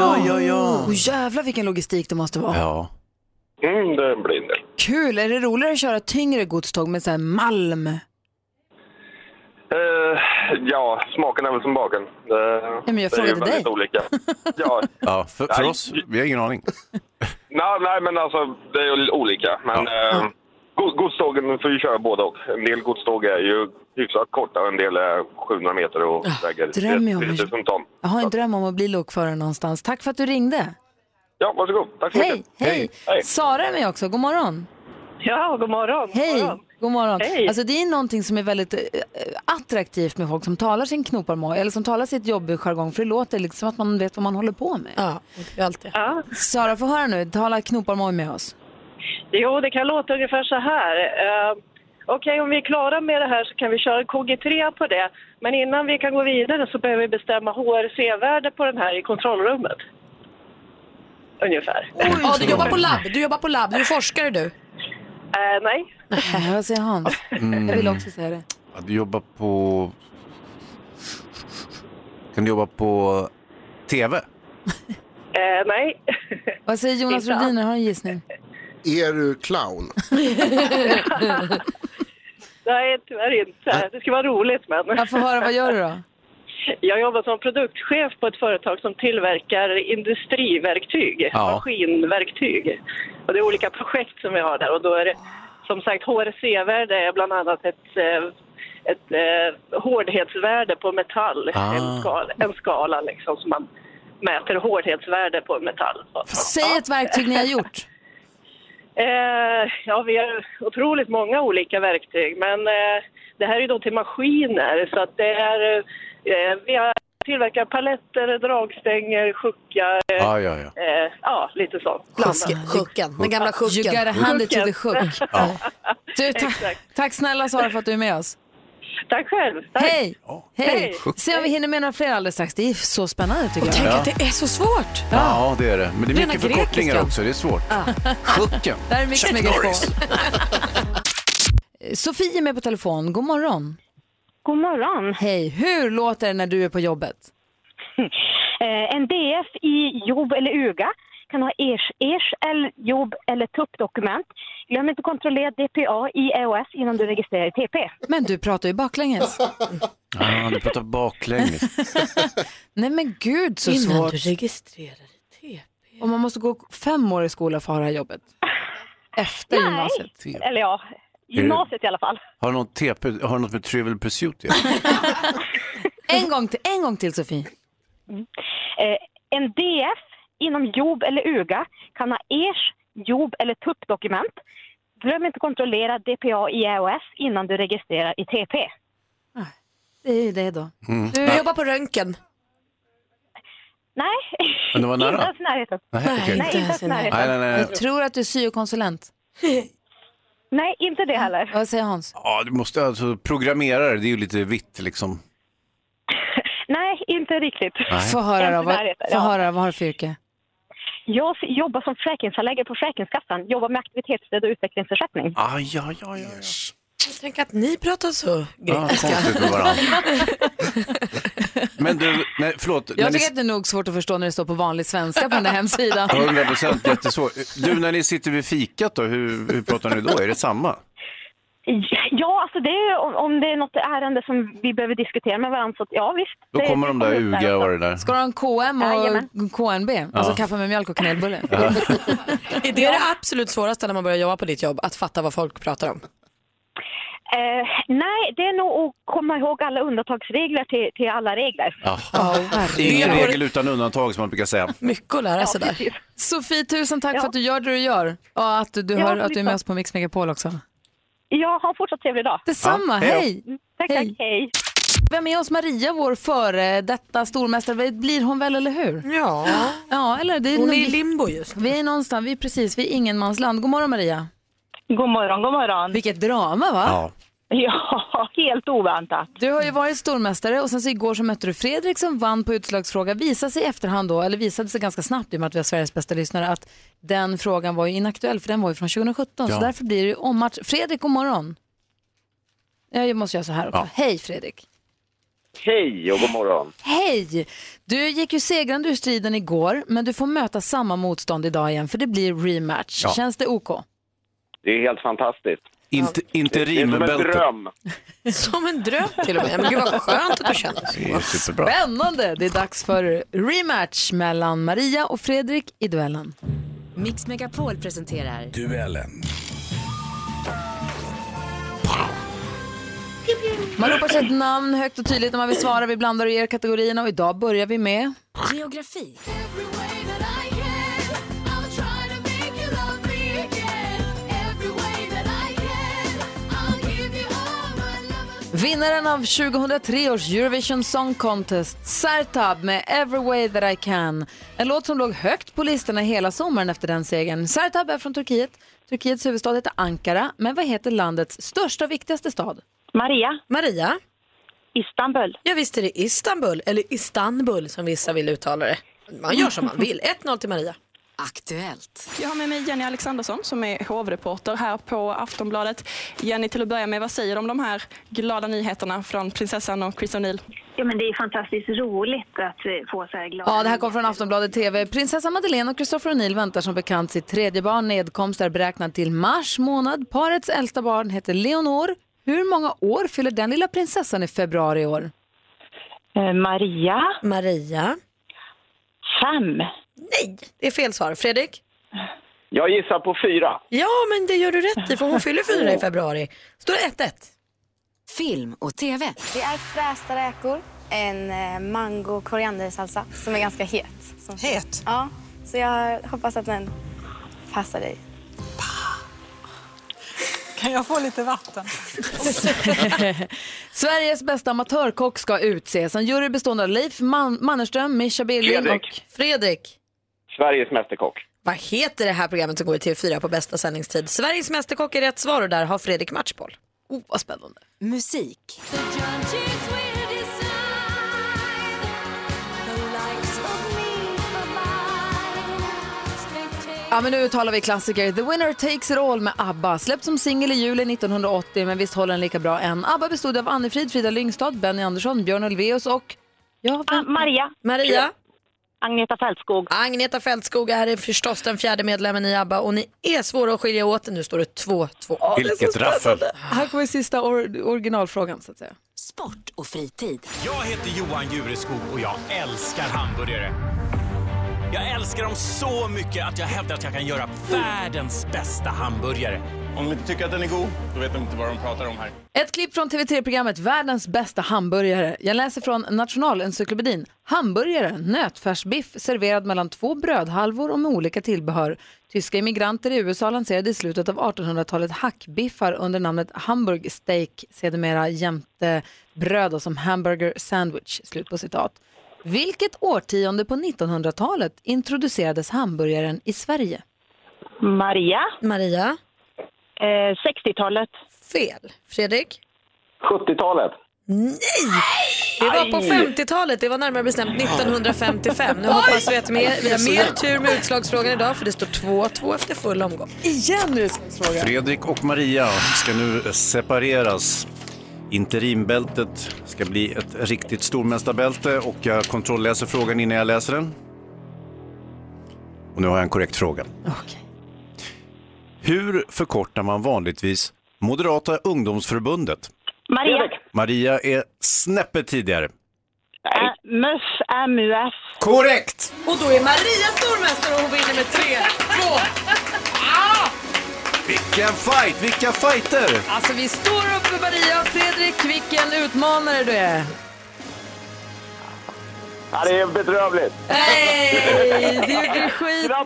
C: ja, ja, ja.
A: Oh, jävlar vilken logistik det måste vara.
C: Ja.
K: Mm, det blir en del.
A: Kul, är det roligare att köra tyngre godståg med så här malm?
K: Eh, ja, smaken är väl som baken. Det,
A: men jag
K: det är ju
A: frågade
K: väldigt
A: dig.
K: olika. Ja,
C: ja för, för oss, vi har ingen aning.
K: nej, nej, men alltså det är ju olika. Men eh, go- godstågen får ju köra båda och. En del godståg är ju hyfsat korta och en del är 700 meter och väger
A: drömmer Ah, jag om.
K: 3000 ton.
A: Jag har en dröm om att bli lokförare någonstans. Tack för att du ringde.
K: Ja, varsågod. Tack så
A: Hej,
K: mycket.
A: hej.
K: Hej.
A: Sara är med också, god morgon.
G: Ja, god morgon.
A: Hej, god morgon.
G: Hej.
A: Alltså det är någonting som är väldigt eh, eh, attraktivt med folk som talar sin knoparmoj eller som talar sitt jobbjargong för det låter liksom att man vet vad man håller på med.
J: Ja, och det är allt det.
G: Ja.
A: Sara, få höra nu, tala knoparmoj med oss.
G: Jo, det kan låta ungefär så här. Eh, Okej, om vi är klara med det här så kan vi köra en KG3 på det. Men innan vi kan gå vidare så behöver vi bestämma HRC-värde på den här i kontrollrummet. Ungefär.
J: Ja, du jobbar på labb, du jobbar på labb, du är forskare du.
G: Eh, nej.
A: Nej, vad säger Hans?
C: Mm.
A: Jag vill också säga det.
C: Ja, du jobbar på... Kan du jobba på TV?
G: Eh, nej.
A: Vad säger Jonas
G: Inte alls.
A: Rhodiner, har du en gissning?
I: Är du clown?
G: nej, tyvärr inte. Det skulle vara roligt, men...
A: Jag får höra, vad gör du då?
G: Jag jobbar som produktchef på ett företag som tillverkar industriverktyg,
C: Ja.
G: maskinverktyg. Och det är olika projekt som vi har där och då är det som sagt HRC-värde är bland annat ett, eh, ett eh, hårdhetsvärde på metall,
C: Ah.
G: en skala, en skala liksom, som man
J: mäter hårdhetsvärde på metall. Så.
A: Säg ett verktyg ni har gjort.
J: Eh, ja, vi har otroligt många olika verktyg, men eh, det här är ju då till maskiner så att det är... Eh, vi har tillverkat paletter, dragstänger, sjuckar, eh,
C: Ah, Ja, ja, ja.
J: eh, ja, lite sånt.
B: Sjuken, sjuken, den gamla
A: You gotta
B: sjuken.
A: hand it to the
J: Sjuken.
A: sjuk.
C: Ja.
A: Du, ta
J: Exakt.
A: tack snälla Sara för att du är med oss.
J: Tack själv! Tack.
A: Hej! Hej!
J: Hej.
A: Se om vi hinner med några fler alldeles strax. Det är så spännande tycker jag.
B: Tänk
C: Ja.
B: att det är så svårt.
C: ja, det är det. Men det är
B: Rena
C: mycket förkortningar
B: grekiska.
C: också, det är svårt.
A: Ah.
C: Sjuken.
A: Där är Mix
C: Chuck
A: Megapol.
C: Norris.
A: Sofie är med på telefon. God morgon.
M: God morgon.
A: Hej, hur låter det när du är på jobbet?
M: Eh, en DF i jobb eller UGA kan ha ers, ers eller jobb eller tuppdokument. Glöm inte att kontrollera DPA i EOS innan du registrerar i TP.
A: Men du pratar ju baklänges.
C: Ja, Ah, du pratar baklänges.
A: Nej men gud så
B: Innan
A: svårt.
B: du registrerar i TP.
A: Och man måste gå fem år i skola för att ha det här jobbet. Efter
M: Nej.
A: gymnasiet.
M: Eller ja, gymnasiet i alla fall.
C: Har du något, TP, har du något med Trivial Pursuit att göra?
A: En gång till, en gång till Sofie.
M: Eh, en DF inom jobb eller UGA kan ha ers jobb eller tuppdokument. Glöm inte att kontrollera DPA i EOS innan du registrerar i TP.
A: Ah, Det är ju det då.
M: Mm.
B: Du jobbar på röntgen.
M: Nej,
C: Men det var nära.
M: inte ens i närheten.
C: Nej, okej.
M: Nej, inte ens i närheten.
C: Nej, nej, nej.
A: Jag tror att du är syokonsulent.
M: Nej, inte det heller.
A: Vad säger Hans?
C: Ja, du måste alltså programmera det, det är ju lite vitt liksom.
M: Nej, inte riktigt.
A: Få höra då,
M: Inte
A: vad,
M: närheten,
A: få
M: ja.
A: höra, vad har du för yrke?
M: Jag f- jobbar som försäkringshandläggare på Försäkringskassan. Jobbar med aktivitetsstöd och utvecklingsersättning.
C: Aj, aj, aj, aj. aj.
B: Tänk att ni pratar så
C: Ja,
B: grekiska.
C: konstigt med varandra. Men du, nej, förlåt. när
A: Jag
C: ni-
A: tycker att det är nog svårt att förstå när det står på vanlig svenska på den där hemsidan.
C: 100 procent jättesvårt. Du, när ni sitter vid fikat då, hur, hur pratar ni då? Är det samma?
M: Ja, alltså det är, ju- om- om det är något ärende som vi behöver diskutera med varandra så att- ja visst.
C: Då
M: det-
C: kommer
M: det
C: de där
M: upp
C: UGA och
M: också.
C: det där.
A: Ska du ha en KM
M: Jajamän.
A: och KNB? Alltså kaffe med mjölk och kanelbulle?
B: Är det det absolut svåraste när man börjar jobba på ditt jobb? Att fatta vad folk pratar om?
M: Eh, nej, det är nog att komma ihåg alla undantagsregler till, till alla regler.
C: Ja.
B: Det
C: Ingen
B: är-
C: regel utan undantag som man brukar säga.
B: Mycket att lära sig där.
A: Sofie, tusen tack
M: Ja.
A: för att du gör det du gör och att du, du,
M: Ja,
A: hör, att du är med
M: visst.
A: oss på Mix Megapol också.
M: Ja, ha en fortsatt trevlig dag.
A: Detsamma,
C: Ja, hej då.
A: hej!
M: Tack,
A: Hej.
M: tack, hej.
A: Vi har med oss Maria, vår före detta stormästare. Blir hon väl, eller hur?
B: Ja,
A: Ja, eller det är
B: hon
A: nog-
B: är i limbo just nu.
A: Vi är någonstans, vi är precis vid ingenmansland. God morgon Maria.
J: God morgon, god morgon.
A: Vilket drama va?
C: Ja.
J: Ja, helt oväntat.
A: Du har ju varit stormästare och sen så igår så mötte du Fredrik som vann på utslagsfråga. Visade sig i efterhand då, eller visade sig ganska snabbt i och med att vi har Sveriges bästa lyssnare, att den frågan var ju inaktuell för den var ju från 2017.
C: Ja.
A: Så därför blir det ju ommatch. Fredrik, god morgon. Ja, Jag måste göra så här också.
C: Ja.
A: Hej Fredrik.
K: Hej och god morgon.
A: Hej! Du gick ju segrande ur striden igår, men du får möta samma motstånd idag igen för det blir rematch.
C: Ja.
A: Känns det OK?
K: Det är helt fantastiskt.
C: Inte, inte
K: Det är som en
C: rimbältet.
K: dröm.
B: Som en dröm till och med. Men gud vad skönt att du känner så.
C: Det är superbra.
A: Spännande! Det är dags för rematch mellan Maria och Fredrik i duellen.
N: Mix Megapol presenterar
A: Man ropar sitt namn högt och tydligt när man vill svara. Vi blandar och ger kategorierna och idag börjar vi med...
N: Geografi.
A: Vinnaren av 2003 års Eurovision Song Contest, Sertab med Every Way That I Can. En låt som låg högt på listorna hela sommaren efter den segern. Sertab är från Turkiet. Turkiets huvudstad heter Ankara, men vad heter landets största och viktigaste stad?
M: Maria,
B: Maria,
M: Istanbul.
B: jag visste det är Istanbul, eller Istanbul som vissa vill uttala det. Man gör som man vill. 1-0 till Maria.
N: Aktuellt.
J: Jag har med mig Jenny Alexandersson som är hovreporter här på Aftonbladet. Jenny, till att börja med, vad säger du om de här glada nyheterna från prinsessan och Chris O'Neill?
M: Ja, men det är fantastiskt roligt att eh, få så här glada
A: Ja, det här kommer från Aftonbladet TV. Prinsessa Madeleine och Christopher O'Neill väntar som bekant sitt tredje barn. Nedkomst är beräknad till mars månad. Parets äldsta barn heter Leonor. Hur många år fyller den lilla prinsessan i februari i år?
M: Eh, Maria,
B: Maria.
M: fem.
B: Nej, det är fel svar. Fredrik?
K: Jag gissar på fyra.
B: Ja, men det gör du rätt i för hon fyller fyra i februari. Står det 1-1.
N: Film och TV.
O: Det är frästa räkor, en eh, mango koriandersalsa som är ganska het. Som
P: het?
O: Ja, så jag hoppas att den passar dig.
P: Kan jag få lite vatten?
A: Sveriges bästa amatörkock ska utses. En jury bestående av Leif Man Mannerström, Mischa Billing och
K: Fredrik.
A: Fredrik.
K: Sveriges mästerkock.
B: Vad heter det här programmet som går i TV4 på bästa sändningstid? Sveriges Mästerkock är rätt svar och där har Fredrik matchboll.
A: Oh, vad spännande.
N: Musik.
A: Ja, men nu talar vi klassiker. The Winner Takes It All med ABBA. Släppt som singel i juli 1980, men visst håller den lika bra än. ABBA bestod av Annefrid, Frida Lyngstad, Benny Andersson, Björn Ulvaeus och... Ja, vem?
M: Ah, Maria.
B: Maria.
M: Agneta Fältskog.
B: Agneta Fältskog är det förstås den fjärde medlemmen i ABBA och ni är svåra att skilja åt. Nu står det 2-2. Ja, det är så
C: Vilket
B: spännande.
C: raffel.
A: Här kommer sista or- originalfrågan, så att säga.
N: Sport och fritid.
D: Jag heter Johan Jureskog och jag älskar hamburgare. Jag älskar dem så mycket att jag hävdar att jag kan göra världens bästa hamburgare. Om de inte tycker att den är god, då vet de inte vad de pratar om här.
A: Ett klipp från TV3-programmet Världens bästa hamburgare. Jag läser från Nationalencyklopedin. Hamburgare, nötfärsbiff serverad mellan två brödhalvor och med olika tillbehör. Tyska immigranter i USA lanserade i slutet av 1800-talet hackbiffar under namnet Hamburg Steak, sedermera jämte bröd och som hamburger sandwich. Slut på citat. Vilket årtionde på 1900-talet introducerades hamburgaren i Sverige?
M: Maria.
B: Maria.
M: Eh, 60-talet.
B: Fel. Fredrik?
K: 70-talet.
B: Nej! Det var på 50-talet, det var närmare bestämt 1955. Nu hoppas vi att mer- vi har mer tur med utslagsfrågan idag för det står 2-2 efter full omgång.
A: Igen utslagsfråga.
C: Fredrik och Maria ska nu separeras. Interimbältet ska bli ett riktigt stormästarbälte och jag kontrollläser frågan innan jag läser den. Och nu har jag en korrekt fråga. Hur förkortar man vanligtvis Moderata ungdomsförbundet?
M: Maria.
C: Maria är snäppet tidigare.
A: Äh.
M: Ä- MUF. MUF.
C: Korrekt!
B: Och då är Maria stormästare och hon vinner med 3-2.
C: Vilken fight, vilka fighter!
A: Alltså vi står upp för Maria. Fredrik, vilken utmanare du är.
K: Ja, det är bedrövligt.
A: Hej! Du gjorde det skitbra.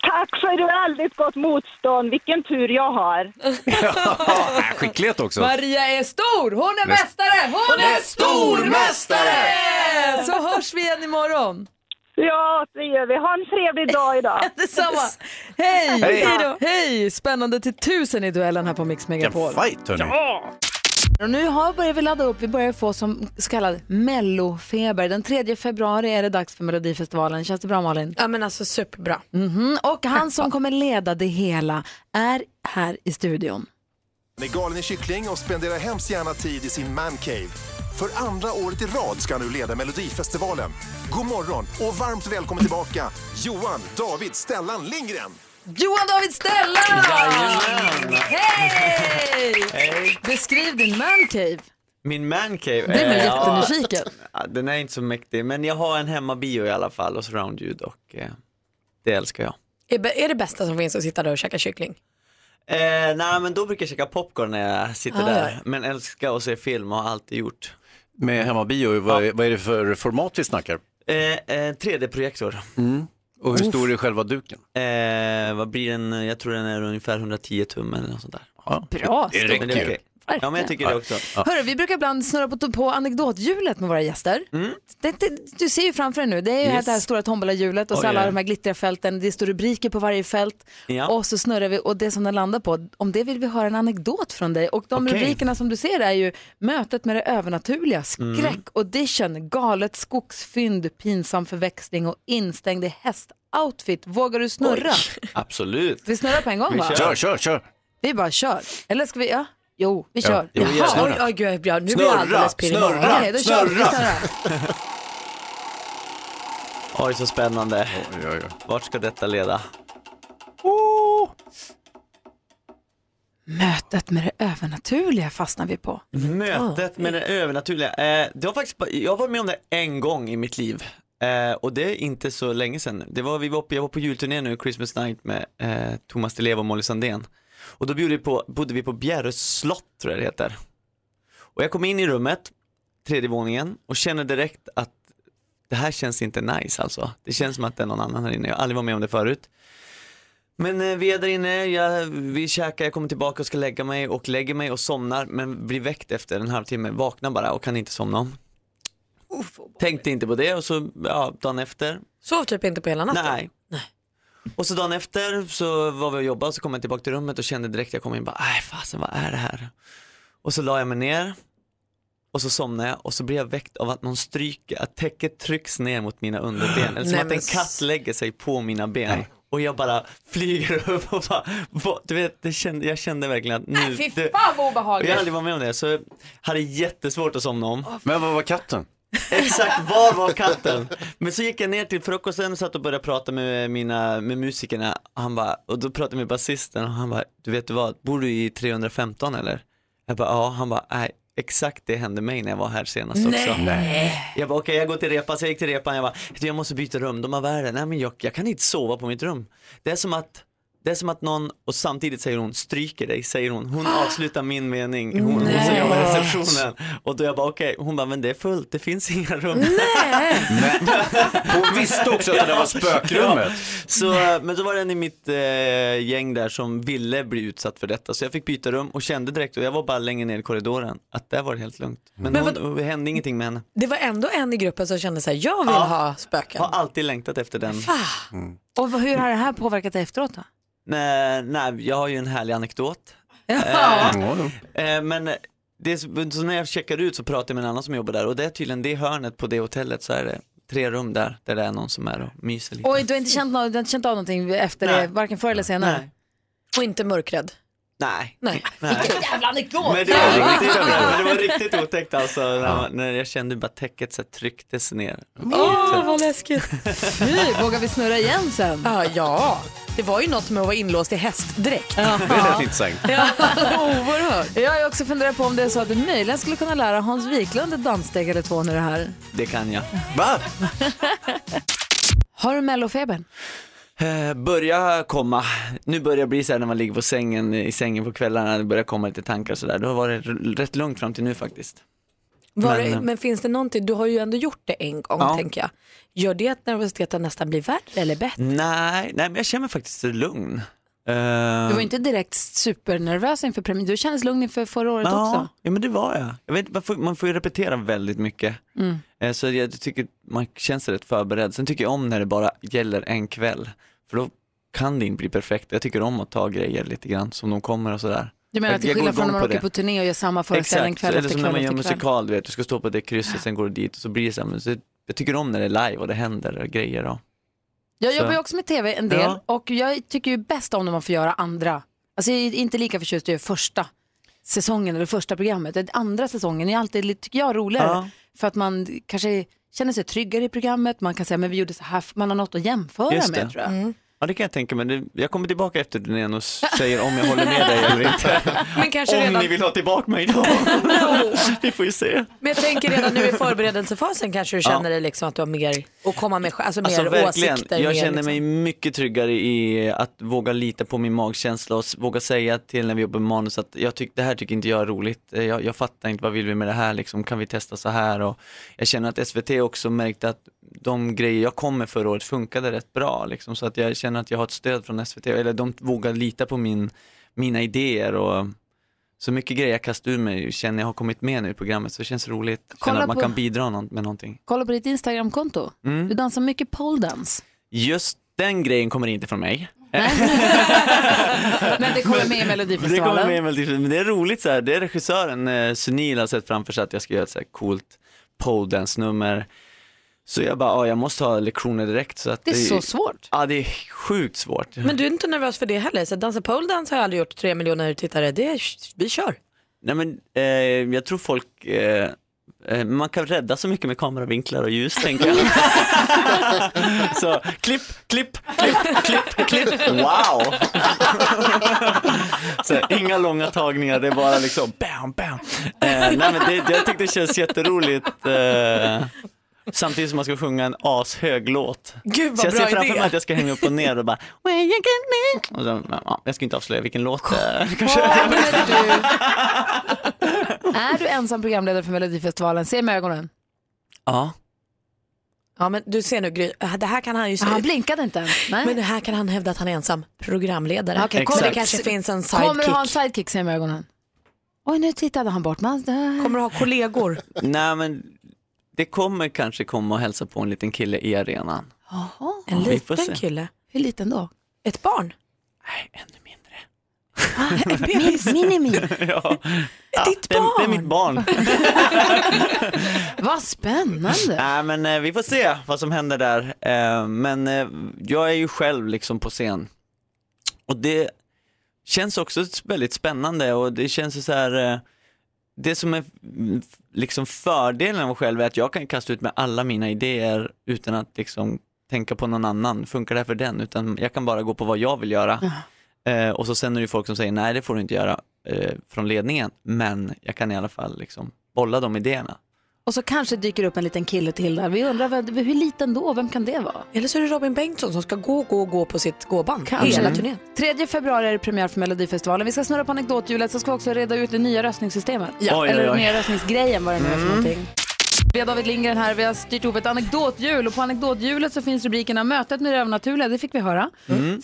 M: Tack för väldigt gott motstånd. Vilken tur jag har.
C: Äh, Skicklighet också.
A: Maria är stor! Hon är mästare! Hon är stormästare! Så hörs vi igen imorgon.
M: Ja, det gör vi. Ha en trevlig dag idag.
A: Detsamma. Hej!
C: Hej.
A: Hej! Spännande till tusen i duellen här på Mix Megapol.
C: Vilken fight hörni.
A: Och nu har börjar vi ladda upp. Vi börjar få som så kallad mellofeber. Den 3 februari är det dags för Melodifestivalen. Känns det bra Malin?
B: Ja men alltså superbra.
A: Mhm. Och han som kommer leda det hela är här i studion.
L: Han är galen i kyckling och spenderar hemskt gärna tid i sin mancave. För andra året i rad ska han nu leda Melodifestivalen. God morgon och varmt välkommen tillbaka, Johan David Stellan Lindgren!
A: Johan David Stellan! Hej! Beskriv din mancave.
Q: Min mancave?
A: Det är man
Q: eh, ja,
A: jättenyfiken.
Q: ja, Den är inte så mäktig, men jag har en hemmabio i alla fall och surroundljud och eh, det älskar jag.
B: Är, bä- är det bästa som finns att sitta där och käka kyckling?
Q: Eh, nej men då brukar jag käka popcorn när jag sitter
B: Ah,
Q: där,
B: ja.
Q: men älskar att se film och har alltid gjort.
C: Med hemmabio, vad, är- vad är det för format vi snackar? Mm.
Q: Eh, eh, 3D-projektor.
C: Och hur stor är själva duken?
Q: Eh, vad blir den, jag tror den är ungefär 110 tum eller något sånt där.
A: Bra
C: Det stor. räcker
Q: Men det är
C: ju.
Q: okej. Ja men jag tycker det också.
A: Hörru, vi brukar ibland snurra på, på anekdothjulet med våra gäster.
C: Mm.
A: Det, det, du ser ju framför dig nu, det är ju
Q: Yes.
A: det här stora tombolahjulet och så
C: Oh,
Q: Oj,
A: alla
Q: oj.
A: de här glittriga fälten, det står rubriker på varje fält
Q: Ja.
A: och så snurrar vi och det som den landar på, om det vill vi höra en anekdot från dig och de
Q: Okej.
A: rubrikerna som du ser är ju mötet med det övernaturliga,
C: Mm.
A: skräck, audition, galet skogsfynd, pinsam förväxling och instängd i hästoutfit. Vågar du snurra?
Q: Absolut.
A: Vi snurrar på en gång
Q: Vi
A: va?
C: Kör, kör, kör!
A: Vi bara kör. Eller ska vi, ja, jo, vi
C: Ja.
A: kör.
C: Jo,
A: Jaha.
C: ja, snurra.
B: Oj, oj, gud, ja, nu blir jag
C: Snurra,
B: alldeles pirrig i magen.
C: snurra,
A: Okej, då kör vi. Vi
C: snurra!
A: snurrar.
Q: Oj så spännande.
C: Oj, oj, oj.
Q: Vart ska detta leda?
A: Oh! Mötet med det övernaturliga fastnar vi på.
Q: Mötet med det övernaturliga. Eh, det var faktiskt, bara- jag var med om det en gång i mitt liv. Eh, och det är inte så länge sedan. Det var, vi var på, jag var på julturné nu, Christmas night med eh, Thomas Di Leva och Molly Sandén. Och då bodde vi på, bodde vi på Bjärrö slott tror jag det heter. Och jag kom in i rummet, tredje våningen och känner direkt att det här känns inte nice alltså. Det känns som att det är någon annan här inne, jag har aldrig varit med om det förut. Men eh, vi är där inne, jag, vi käkar, jag kommer tillbaka och ska lägga mig och lägger mig och somnar men blir väckt efter en halvtimme, vaknar bara och kan inte somna om. Tänkte inte på det och så ja, dagen efter.
B: Sov typ inte på hela natten?
Q: Nej. Och så dagen efter så var vi och jobbade och så kom jag tillbaka till rummet och kände direkt jag kom in bara, nej fasen vad är det här? Och så la jag mig ner och så somnade jag och så blev jag väckt av att någon stryker, att täcket trycks ner mot mina underben. Eller som
B: Nej,
Q: att
B: men
Q: en katt lägger sig på mina ben. Och jag bara flyger upp och bara, vad- du vet, det kände, jag kände verkligen att nu,
A: Nej, fy
Q: det,
A: fan vad
Q: jag har
A: obehagligt.
Q: aldrig varit med om det så jag hade jättesvårt att somna om.
C: Men vad var katten?
Q: Exakt, var var katten? Men så gick jag ner till frukosten och satt och började prata med, mina, med musikerna och, han bara, och då pratade jag med basisten och han bara, du vet du vad, bor du i 315 eller? Jag bara, ja, han bara, nej, exakt det hände mig när jag var här senast också.
C: Nej.
Q: Jag bara, okej jag går till repan, så jag gick till repan, jag bara, du, jag måste byta rum, de har värre, nej men jag, jag kan inte sova på mitt rum. Det är som att det är som att någon, och samtidigt säger hon, stryker dig, säger hon. Hon avslutar min mening, hon, hon som jobbar i receptionen. Och då jag bara okej, hon bara, men det är fullt, det finns inga rum.
C: Hon visste också att det där var spökrummet.
Q: Så, eh, men då var det en i mitt eh, gäng där som ville bli utsatt för detta. Så jag fick byta rum och kände direkt, och jag var bara längre ner i korridoren, att där var det helt lugnt. Men,
B: Men
Q: hon, det hände ingenting med henne.
B: Det var ändå en i gruppen som kände så här, jag vill
Q: Ja.
B: ha spöken.
Q: Har alltid längtat efter den.
C: Mm.
A: Och vad- hur har det här påverkat dig efteråt då?
Q: Nej, nej, jag har ju en härlig anekdot.
C: Ja.
Q: Eh, men det, är så så när jag checkar ut så pratar jag med en annan som jobbar där och det är tydligen det hörnet på det hotellet så är det tre rum där, där det är någon som är och myser lite.
A: Oj, du har inte känt, något, du har inte känt av någonting efter
Q: Nej.
A: det, varken förr eller senare?
Q: Nej.
B: Och inte mörkrädd.
Q: Nej.
B: Nej.
Q: nej.
A: Jävla anekdot!
Q: Men det, var riktigt, men det var riktigt otäckt alltså när, man, när jag kände bara täcket så här trycktes ner.
B: Åh, vad läskigt.
A: Fy, vågar vi snurra igen sen?
B: Ja, ja, det var ju något med att vara inlåst i hästdräkt.
C: Det lät intressant.
B: Oerhört.
A: Jag har ju också funderat på om det är så att du möjligen skulle kunna lära Hans Wiklund ett danssteg eller två när du är här.
Q: Det kan jag.
C: Va?
A: Har du mellofebern?
Q: Eh, börja komma, nu börjar det bli så här när man ligger på sängen, i sängen på kvällarna, det börjar komma lite tankar och sådär. Det har varit r- rätt lugnt fram till nu faktiskt.
B: Var det,
Q: Men- eh,
B: men finns det någonting, du har ju ändå gjort det en gång
Q: Ja.
B: tänker jag. Gör det att nervositeten nästan blir värre eller bättre?
Q: Nej, nej men jag känner mig faktiskt lugn. Eh,
A: Du var ju inte direkt supernervös inför premiären. Du kändes lugn inför förra året också.
Q: ja, ja, men det var jag. jag vet, man, får, man får ju repetera väldigt mycket.
A: Mm.
Q: Eh, Så jag tycker man känns rätt förberedd. Sen tycker jag om när det bara gäller en kväll. För då kan det inte bli perfekt. Jag tycker om att ta grejer lite grann som de kommer och sådär.
A: Du menar
Q: Jag-
A: att till
Q: jag går
A: skillnad från när
Q: igång
A: man
Q: på
A: åker
Q: det.
A: på turné och gör samma föreställning
Q: Exakt,
A: kväll
Q: eller
A: efter
Q: som
A: kväll
Q: när man gör
A: efter kväll?
Q: musikal, du vet, du ska stå på det krysset, sen går du dit och så blir det så här, men så, jag tycker om när det är live och det händer och grejer. Och,
A: Jag
Q: Så.
A: jobbar ju också med tv en del
Q: Ja.
A: och jag tycker ju bäst om när man får göra andra. Alltså jag är inte lika förtjust i första säsongen eller första programmet. Den andra säsongen är alltid, lite- tycker jag, roligare.
Q: Ja.
A: För att man kanske känner sig tryggare i programmet. Man kan säga, men vi gjorde så här, man har något att jämföra
Q: Just
A: med
Q: det.
A: tror jag.
Q: ja, det kan jag tänka mig. Det- Jag kommer tillbaka efter turnén och säger om jag håller med dig eller inte.
B: Men kanske
Q: om
B: redan,
Q: ni vill ha tillbaka mig då. Vi får ju se.
B: men jag tänker redan nu i förberedelsefasen kanske du känner dig liksom att du har mer att komma med, alltså mer
Q: Alltså verkligen,
B: åsikter. mer,
Q: jag känner
B: liksom.
Q: mig mycket tryggare i att våga lita på min magkänsla och s- våga säga till när vi jobbar med manus att jag tyck, det här tycker inte jag är roligt, Eh, jag, jag fattar inte vad vill vi med det här liksom, kan vi testa så här och jag känner att SVT också märkte att de grejer jag kom med förra året funkade rätt bra liksom, så att jag känner att jag har ett stöd från SVT, eller de vågar lita på min, mina idéer och så mycket grejer jag kastar ur mig känner jag har kommit med nu i programmet så det känns roligt,
A: Kolla
Q: känner att man
A: på-
Q: kan bidra nå- med någonting.
A: Kolla på ditt Instagramkonto.
Q: Mm.
A: Du dansar mycket poledance.
Q: Just den grejen kommer inte från mig.
A: Men det kommer med i
Q: Det kommer med i
A: Melodifestivalen.
Q: Melodifestivalen. Men det är roligt så här, det är regissören eh, Sunil har sett framför sig att jag ska göra ett så här coolt poledance-nummer. Så jag bara, ja jag måste ha lektioner direkt. Så att
A: Det är så svårt.
Q: Ja det är sjukt svårt.
B: Men du är inte nervös för det heller? Så dansa pole dance har jag aldrig gjort, tre miljoner tittare, det är, vi kör.
Q: Nej men eh, jag tror folk, eh, eh, man kan rädda så mycket med kameravinklar och ljus tänker jag. så klipp, klipp, klipp, klipp, klipp, wow. så, inga långa tagningar, det är bara liksom bam, bam. Eh, nej men det, jag tyckte det känns jätteroligt. Eh, samtidigt som man ska sjunga en ashög låt.
B: Gud, vad
Q: så jag
B: bra
Q: ser framför
B: idé.
Q: mig att jag ska hänga upp och ner och bara Where you get me? Och så, ja, jag ska inte avslöja vilken låt det är. Kanske.
A: Är du ensam programledare för Melodifestivalen? Se med ögonen.
Q: Ja.
B: Ja men du ser nu Gry, det här kan han ju
A: Ah, Han blinkade inte ens. Nej.
B: Men det här kan han hävda att han är ensam programledare.
A: Okej,
B: men det
A: kommer-
B: kanske finns en sidekick.
A: Kommer du ha en sidekick? Se med ögonen. Oj, nu tittade han bort. Man,
B: Kommer du ha kollegor?
Q: Nej men det kommer kanske komma och hälsa på en liten kille i arenan.
A: Jaha.
B: En
Q: Vi får
B: liten
Q: se.
B: kille?
A: Hur liten då?
B: Ett barn? Nej, ännu mindre.
A: Min- Minimi.
Q: ja. Ja,
B: Ditt
Q: det, är- det är mitt barn.
A: Vad spännande.
Q: Nej men eh, vi får se vad som händer där. Eh, men eh, jag är ju själv liksom på scen. Och det känns också väldigt spännande och det känns ju så här eh, det som är mm, f- liksom fördelen av mig själv är att jag kan kasta ut med alla mina idéer utan att liksom tänka på någon annan, funkar det här för den? Utan jag kan bara gå på vad jag vill göra. Eh, och så sen är det ju folk som säger nej det får du inte göra eh, från ledningen, men jag kan i alla fall liksom bolla de idéerna.
A: Och så kanske dyker upp en liten kille till där. Vi undrar vad, hur liten då? Vem kan det vara?
B: Eller så är det Robin Bengtsson som ska gå, gå, gå på sitt gåband
A: Kanske.
B: hela turnén.
A: 3 februari är det premiär för Melodifestivalen. Vi ska snurra på anekdothjulet så ska vi också reda ut det nya röstningssystemet.
Q: Ja. Oj,
A: Eller
Q: oj, oj.
A: den nya röstningsgrejen vad det nu är
B: Mm.
A: för någonting. Vi har David Lindgren här, vi har styrt ihop ett anekdothjul och på anekdothjulet så finns rubrikerna Mötet med det övernaturliga, det fick vi höra.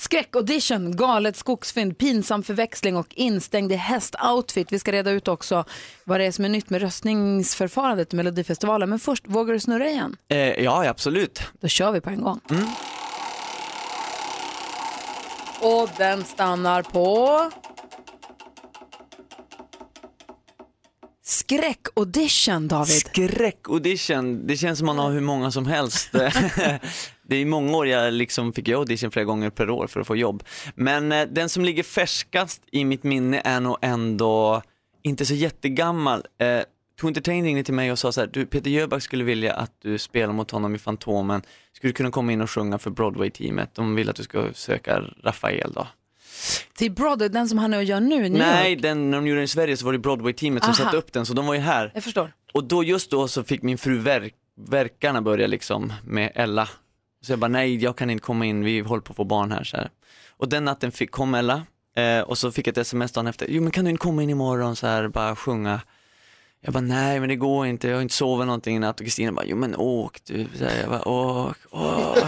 A: Skräckaudition, galet skogsfynd, pinsam förväxling och instängd i hästoutfit. Vi ska reda ut också vad det är som är nytt med röstningsförfarandet i Melodifestivalen. Men först, vågar du snurra igen?
Q: Eh, ja, ja, absolut. Mm.
A: Då kör vi på en gång. Och den stannar på... Skräckaudition, David.
Q: Skräckaudition, det känns som man har hur många som helst. det är många år jag liksom fick göra audition flera gånger per år för att få jobb. Men eh, den som ligger färskast i mitt minne är nog ändå inte så jättegammal. Eh, Too Entertain ringde till mig och sa så här, du Peter Jöback skulle vilja att du spelar mot honom i Fantomen. Skulle du kunna komma in och sjunga för Broadway-teamet? De vill att du ska söka Rafael då.
A: Till Brother, den som han är och gör nu i New
Q: Nej,
A: York.
Q: den, när de gjorde den i Sverige så var det Broadway-teamet som
A: Aha.
Q: satte upp den, så de var ju här.
A: Jag förstår.
Q: Och då just då så fick min fru verk, verkarna börja liksom med Ella. Så jag bara nej jag kan inte komma in, vi håller på att få barn här. Så här. Och den natten fick, kom Ella eh, och så fick jag ett sms dagen efter, jo men kan du inte komma in imorgon så här bara sjunga. Jag bara nej men det går inte, jag har inte sovit någonting i natt och Kristina bara jo men åk du. Så här, jag bara åk, åk.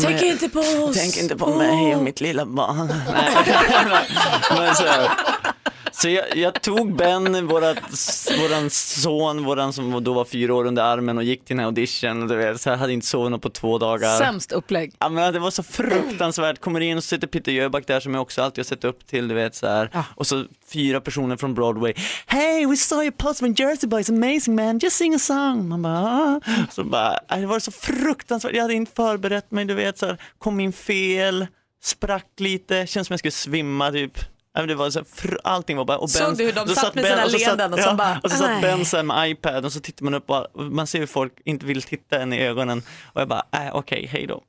B: Tänk
Q: med-
B: inte på oss.
Q: Tänk inte på
B: Åh.
Q: mig och mitt lilla barn. Nej. Men så, så jag, jag tog Ben, våra, våran son, våran som då var fyra år under armen och gick till den här audition. Och du vet, så jag hade inte sovit något på två dagar.
A: Sämst upplägg.
Q: Ja, men det var så fruktansvärt. Kommer in och sitter Peter Jöback där som jag också alltid har sett upp till, du vet så här. Och så fyra personer från Broadway. Hey, we saw your post from Jersey Boys, amazing man, just sing a song. Man bara, ah. Så bara, ja, det var så fruktansvärt. Jag hade inte förberett mig, du vet så här. Kom in fel, sprack lite, känns som jag skulle svimma typ. Ja, men Det var så här, fr- allting var bara... Och
B: Såg du hur de
Q: då
B: satt med sina
Q: och så
B: leenden och så bara,
Q: Och så satt
B: "Aj."
Q: Ben så här med iPad och så tittar man upp och och man ser hur folk inte vill titta en i ögonen. Och jag bara, äh, okej, hej då.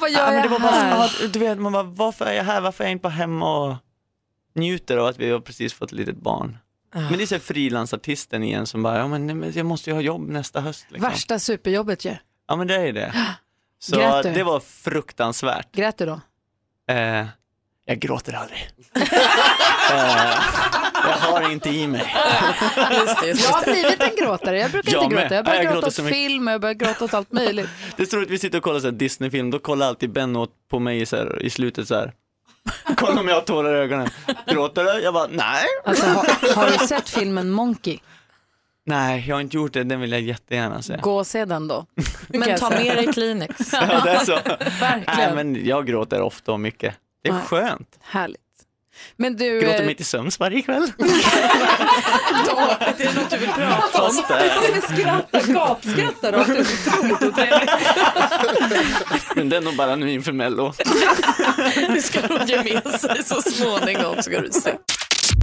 A: Vad
Q: Ja,
A: gör
Q: men
A: jag
Q: det var bara,
A: här?
Q: ja, du vet, man bara, varför är jag här? Varför är jag inte bara hemma och njuter av att vi har precis fått ett litet barn? Men det är så här frilansartisten igen som bara, ja men nej, men jag måste ju ha jobb nästa höst. Liksom.
A: Värsta superjobbet ju.
Q: Ja men det är ju det. Så
A: Grät du?
Q: det var fruktansvärt.
A: Grät du då?
Q: Eh, jag gråter aldrig. eh, jag har det inte i mig.
A: Jag har blivit en gråtare. Jag brukar
Q: Jag
A: inte
Q: med.
A: gråta. Jag
Q: Ja,
A: börjar
Q: jag
A: gråta
Q: gråter
A: åt
Q: så mycket.
A: film och jag börjar gråta åt allt möjligt.
Q: Det är så roligt, vi sitter och kollar så här Disney-film, då kollar alltid Ben åt på mig så här, i slutet så här. Kolla om jag har tårar i ögonen. Gråter du? Jag bara, nej.
A: Alltså, har, har du sett filmen Monkey?
Q: Nej, jag har inte gjort det. Den vill jag jättegärna se.
A: Gå och se den då.
B: Men ta med dig Kleenex.
Q: Ja, det är så. Nej,
A: Verkligen.
Q: men jag gråter ofta och mycket. Det är
A: Ja.
Q: skönt.
A: Härligt. Men du,
Q: Gråter
A: eh,
Q: mitt i sömns varje kväll.
B: Det är något du vill prata
Q: Fast, eh,
A: varför skrattar du? Gapskrattar du?
Q: men den är nog bara nu inför Mello.
B: Det ska de ge med sig så småningom. Ska du se.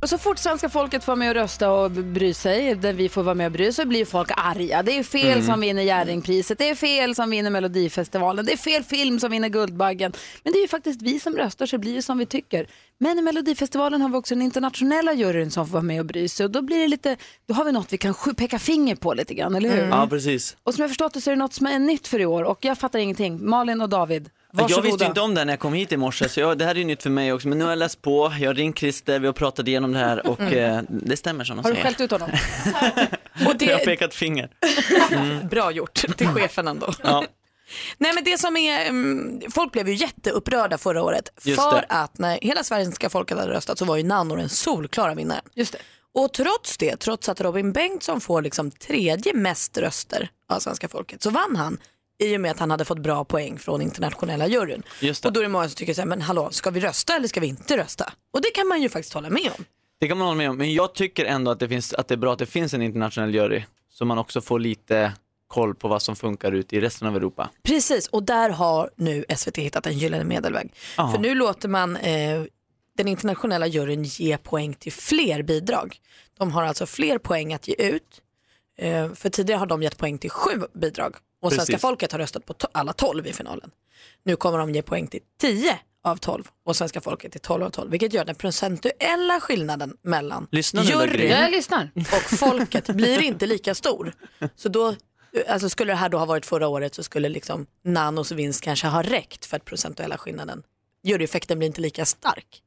A: Och så fort svenska folket får vara med och rösta och bry sig, där vi får vara med och bry så blir folk arga. Det är fel
R: Mm.
A: som vinner Jerringpriset, det är fel som vinner Melodifestivalen, det är fel film som vinner Guldbaggen. Men det är ju faktiskt vi som röstar så det blir ju som vi tycker. Men i Melodifestivalen har vi också den internationella juryn som får vara med och bry sig och då blir det lite, då har vi något vi kan sju- peka finger på lite grann, eller hur?
Q: Mm. Ja, precis.
A: Och som jag förstått det så är det något som är nytt för i år och jag fattar ingenting. Malin och David, varsågoda.
Q: Jag visste ju inte om det här när jag kom hit i morse, så jag, det här är ju nytt för mig också. Men nu har jag läst på, jag har ringt Christer, vi har pratat igenom det här och
A: Mm.
Q: eh, det stämmer som de
A: Har du
Q: säger.
A: skällt ut honom?
Q: Jag har pekat finger. Mm.
B: Bra gjort till chefen ändå.
Q: Ja.
B: Nej men det som är, mm, folk blev ju jätteupprörda förra året
Q: Just
B: för
Q: det.
B: att när hela svenska folket hade röstat så var ju Nanno den solklara vinnaren.
A: Just det.
B: Och trots det, trots att Robin Bengtsson får liksom tredje mest röster av svenska folket så vann han i och med att han hade fått bra poäng från internationella juryn.
Q: Just det.
B: Och då är det många som tycker så här, men hallå, ska vi rösta eller ska vi inte rösta? Och det kan man ju faktiskt hålla med om.
Q: Det kan man hålla med om, men jag tycker ändå att det, finns, att det är bra att det finns en internationell jury så man också får lite koll på vad som funkar ute i resten av Europa.
B: Precis, och där har nu SVT hittat en gyllene medelväg.
Q: Ja.
B: För nu låter man eh, den internationella juryn ge poäng till fler bidrag. De har alltså fler poäng att ge ut. Eh, för tidigare har de gett poäng till sju bidrag och
Q: Precis.
B: svenska folket har röstat på to- alla tolv i finalen. Nu kommer de ge poäng till tio av tolv och svenska folket till tolv av tolv, vilket gör den procentuella skillnaden mellan
Q: Lyssnar nu då, Gry?
B: juryn
Q: Jag
A: lyssnar.
B: och folket blir inte lika stor. Så då, alltså skulle det här då ha varit förra året så skulle liksom Nanos vinst kanske ha räckt för att procentuella skillnaden, juryeffekten blir inte lika stark.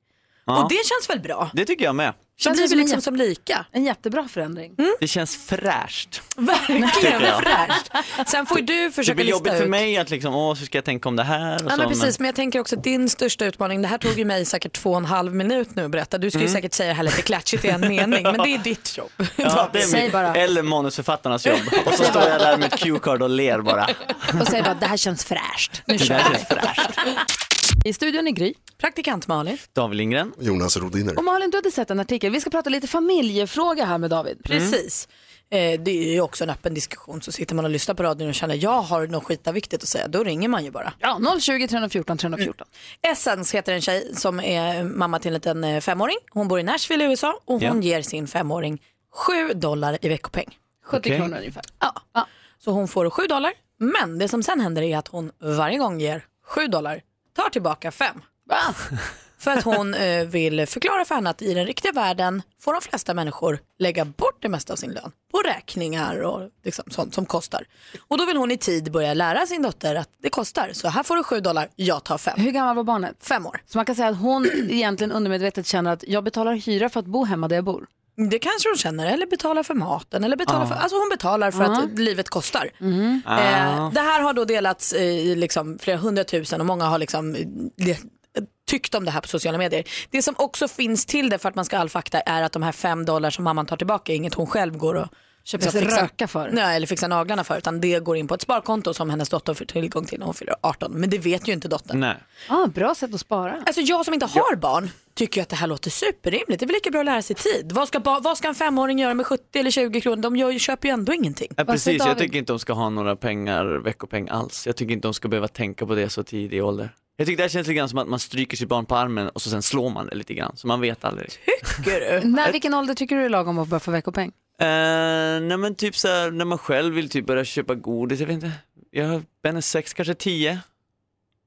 Q: Ja.
B: Och det känns väl bra?
Q: Det tycker jag med.
B: Känns det blir liksom som lika.
A: En jättebra förändring.
Q: Det känns fräscht.
B: Verkligen
Q: Tycker jag.
B: fräscht. Sen får ju du
Q: Det
B: försöka
Q: blir
B: lista
Q: jobbigt
B: ut.
Q: för mig att liksom, åh, så ska jag tänka om det här och
B: Ja,
Q: så.
B: men precis, men jag tänker också att din största utmaning, det här tog ju mig säkert två och en halv minut nu att berätta. Du ska ju
Q: Mm.
B: säkert säga det här lite klatschigt i en mening, men det är ditt jobb.
Q: Ja, det
A: Säg
Q: är
A: bara.
Q: mitt, eller manusförfattarnas jobb. Och så står jag där med ett cue-card och ler bara.
A: Och säger bara, det här känns fräscht. Nu
Q: Det
A: kör
Q: där
A: vi.
Q: känns fräscht.
A: I studion är Gry.
B: Praktikant Malin.
Q: David Lindgren.
I: Jonas Rodiner.
A: Och Malin, du hade sett en artikel. Vi ska prata lite familjefråga här med David. Mm.
B: Precis. Eh, det är ju också en öppen diskussion. Så sitter man och lyssnar på radion och känner jag har något skitaviktigt att säga, då ringer man ju bara.
A: Ja, 020 314 314.
B: Essence heter en tjej som är mamma till en liten eh, femåring. Hon bor i Nashville i USA och hon
A: Ja.
B: ger sin femåring 7 dollar i veckopeng.
A: 70 Okej. kronor ungefär.
B: Ja. Så hon får 7 dollar. Men det som sen händer är att hon varje gång ger 7 dollar tar tillbaka 5. För att hon eh, vill förklara för henne att i den riktiga världen får de flesta människor lägga bort det mesta av sin lön på räkningar och liksom sånt som kostar. Och då vill hon i tid börja lära sin dotter att det kostar. Så här får du 7 dollar, jag tar 5.
A: Hur gammal var barnet?
B: Fem år.
A: Så man kan säga att hon egentligen undermedvetet känner att jag betalar hyra för att bo hemma där jag bor.
B: Det kanske hon känner, eller betalar för maten. Eller betalar
A: Ah.
B: för, alltså hon betalar för
A: Ah.
B: att livet kostar.
A: Ah.
B: Eh, det här har då delats i liksom flera hundratusen och många har liksom eh, tyckt om det här på sociala medier. Det som också finns till det för att man ska ha all fakta är att de här fem dollar som mamman tar tillbaka är inget hon själv går och
A: Köper sig röka för.
B: Nej, eller fixar naglarna för utan det går in på ett sparkonto som hennes dotter får tillgång till när hon fyller 18. Men det vet ju inte dottern.
Q: Nej.
A: Ah, bra sätt att spara.
B: Alltså jag som inte har barn tycker ju att det här låter superrimligt. Det är väl lika bra att lära sig i tid. Vad ska, ba- vad ska en femåring göra med 70 eller 20 kronor? De gör, ju- köper ju ändå ingenting.
Q: Ja, precis, jag tycker inte de ska ha några pengar, veckopeng alls. Jag tycker inte de ska behöva tänka på det så tidig ålder. Jag tycker det här känns lite grann som att man stryker sitt barn på armen och så sen slår man det lite grann, så man vet aldrig.
A: När, vilken ålder tycker du är lagom att börja få veckopeng?
Q: Eh, nej men typ så här, när man själv vill typ börja köpa godis, jag vet inte. Jag, Ben är sex, kanske tio.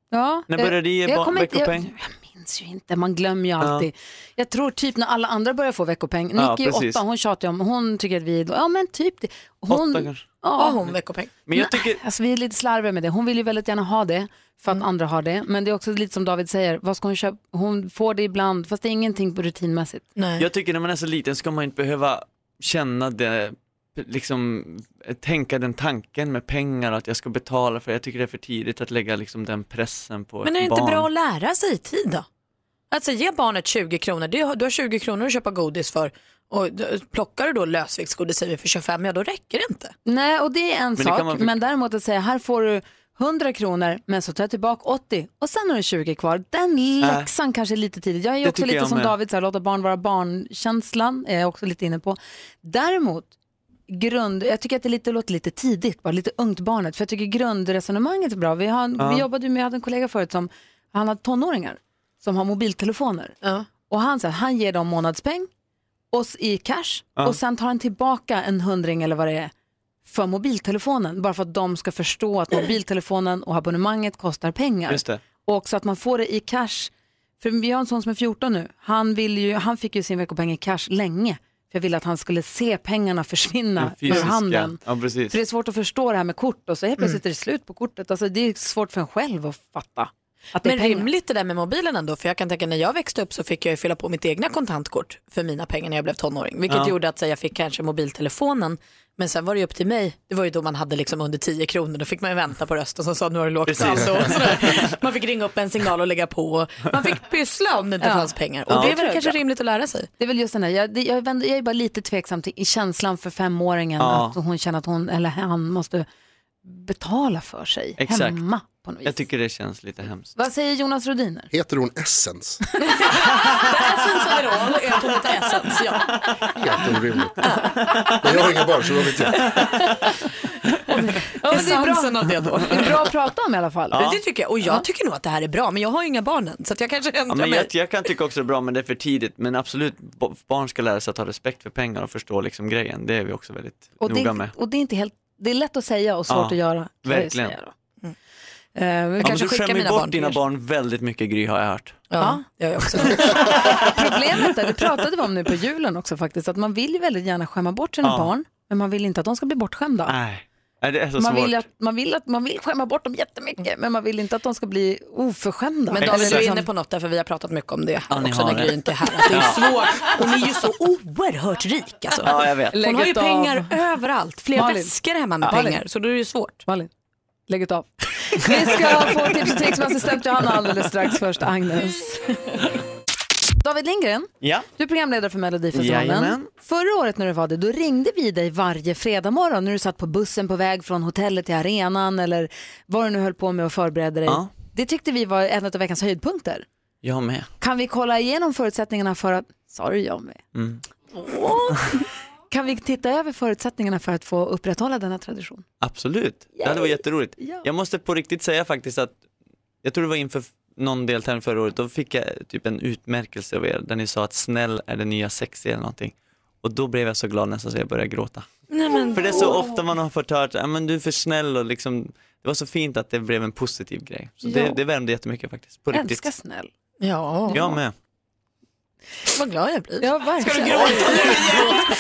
A: Ja, eh,
Q: När började du ge
A: jag
Q: barn
A: kommer inte- jag-
Q: veckopeng?
A: Jag minns ju inte, man glömmer ju alltid. Jag tror typ när alla andra börjar få veckopeng,
Q: Ja,
A: Nicky är
Q: precis.
A: åtta, hon tjatar ju om, hon tycker att vi är, ja men typ det. Hon,
Q: Åtta kanske.
A: Ja,
B: hon veckopeng.
Q: Men jag tycker,
A: Alltså, vi är lite slarviga med det. Hon vill ju väldigt gärna ha det för
B: Mm.
A: att andra har det. Men det är också lite som David säger, vad ska hon köpa? Hon får det ibland, fast det är ingenting på rutinmässigt.
Q: Jag tycker när man är så liten ska man inte behöva känna det, liksom tänka den tanken med pengar och att jag ska betala för det. Jag tycker det är för tidigt att lägga liksom den pressen på
B: Men är det
Q: ett
B: inte
Q: barn.
B: bra att lära sig i tid då? Alltså ge barnet 20 kronor, Det har- du har 20 kronor att köpa godis för och d- plockar du då lösviktsgodis säger vi för 25, ja då räcker det inte.
A: Nej, och det är en
B: det
A: sak.
B: kan man-
A: Men däremot att säga, här får du 100 kronor, men så tar jag tillbaka 80 och sen har du 20 kvar. Den
R: Äh.
A: läxan kanske är lite tidigt. Jag är ju
R: Det
A: också
R: tycker
A: lite
R: jag
A: som
R: med.
A: David, så här, låta barn vara barnkänslan är jag också lite inne på. Däremot, grund, jag tycker att det lite, låter lite tidigt, bara lite ungt barnet, för jag tycker grundresonemanget är bra. Vi, har, en-
R: Ja.
A: vi jobbade ju med, jag hade en kollega förut som, han hade tonåringar som har mobiltelefoner. Och han, så här, han ger dem månadspeng oss i cash och sen tar han tillbaka en hundring eller vad det är för mobiltelefonen. Bara för att de ska förstå att mobiltelefonen och abonnemanget kostar pengar.
Q: Just det.
A: Och också att man får det i cash. För vi har en sån som är 14 nu. Han, vill ju, han fick ju sin veckopeng i cash länge. För jag ville att han skulle se pengarna försvinna
Q: Den
A: ur
Q: fysiska.
A: handen.
Q: Ja, precis.
A: För det är svårt att förstå det här med kort och så helt plötsligt är det slut på kortet. Alltså, det är svårt för en själv att fatta. Att det är
B: Men
A: pengar.
B: rimligt det där med mobilen ändå, för jag kan tänka när jag växte upp så fick jag ju fylla på mitt egna kontantkort för mina pengar när jag blev tonåring. Vilket
A: Ja.
B: gjorde att så, jag fick kanske mobiltelefonen, men sen var det ju upp till mig. Det var ju då man hade liksom under 10 kronor, då fick man ju vänta på rösten som sa nu har du lågt
Q: Precis.
B: saldo. och sådär. Man fick ringa upp en signal och lägga på. och Man fick pyssla om det inte
A: Ja.
B: fanns pengar. Och
A: Ja.
B: det är
A: Det tror
B: väl
A: jag
B: kanske
A: är bra.
B: rimligt att lära sig.
A: Det är väl just den där, jag, det- jag, vänder, jag är bara lite tveksam till i känslan för femåringen
Q: Ja.
A: att hon känner att hon eller han måste betala för sig
Q: Exakt.
A: hemma. På något vis.
Q: Jag tycker det känns lite hemskt.
A: Vad säger Jonas Rodiner?
I: Heter hon Essence?
B: Essence overall och ögonet Essence, ja.
I: Helt orimligt. Men jag har inga barn så då vet jag.
A: Ja, men det, är
B: Essensen
A: bra,
B: av det då.
A: det är bra att prata om i alla fall.
B: Det tycker jag, och jag tycker nog att det här är bra, men jag har ju inga barn än, så att jag kanske ändrar
Q: Ja, men
B: mig.
Q: jag, jag kan tycka också det är bra, men det är för tidigt. Men absolut, bo- barn ska lära sig att ha respekt för pengar och förstå liksom grejen. Det är vi också väldigt
A: Och det,
Q: noga
A: är-
Q: med.
A: och det är inte helt, det är lätt att säga och svårt
Q: Ja,
A: att göra. kan jag ju
Q: verkligen.
A: säga då. Mm. Eh, vi
Q: Ja, men
A: kanske
Q: du
A: skickar
Q: skämmer ju
A: mina
Q: bort
A: barn till
Q: dina
A: er.
Q: barn väldigt mycket Gry har jag hört.
A: Ja,
B: jag också.
A: Problemet är, det pratade vi om nu på julen också faktiskt, att man vill ju väldigt gärna skämma bort sina
Q: Ja.
A: barn, men man vill inte att de ska bli bortskämda.
Q: Nej, Nej, det är så
A: Man
Q: svårt.
A: vill, att, man, vill att, man vill skämma bort dem jättemycket men man vill inte att de ska bli oförskämda.
B: Men
A: Eller
B: David, du är
A: liksom-
B: inne på något där, för vi har pratat mycket om det
A: Ja, ni
B: också
A: har
B: när
A: det.
B: Gry inte är här. Att det är
A: Ja.
B: svårt. Hon är ju så oerhört rik alltså.
A: Ja, jag vet.
B: Hon har ju
A: Lägget av.
B: pengar överallt. Flera
A: Malin.
B: väskor hemma med
A: Ja.
B: pengar, så då är det ju svårt.
A: Malin, lägg av. Vi ska få tips och tricks med assistent Johanna alldeles strax. Först Agnes. David Lindgren,
Q: Ja.
A: du är programledare för Melodifestivalen.
Q: Jajamän.
A: Förra året när du var det, då ringde vi dig varje fredag morgon när du satt på bussen på väg från hotellet till arenan eller vad du nu höll på med och förberedde dig.
Q: Ja.
A: Det tyckte vi var en av veckans höjdpunkter.
Q: Jag med.
A: Kan vi kolla igenom förutsättningarna för att... Sa du jag med?
Q: Mm.
A: Åh. Kan vi titta över förutsättningarna för att få upprätthålla denna tradition?
Q: Absolut, det hade varit jätteroligt.
A: Ja.
Q: Jag måste på riktigt säga faktiskt att jag tror det var inför f- någon deltävling förra året, då fick jag typ en utmärkelse av er där ni sa att snäll är det nya sexy eller någonting. Och då blev jag så glad nästan så jag började gråta.
B: Nej, men,
Q: För det är så ofta man har fått höra, "Ja, men du är för snäll och liksom, det var så fint att det blev en positiv grej. Så det,
A: Ja.
Q: det värmde jättemycket faktiskt, på riktigt.
A: Älskar snäll.
B: Ja,
Q: Jag med.
B: vad glad jag blir.
A: Ja, verkligen. Ska du gråta?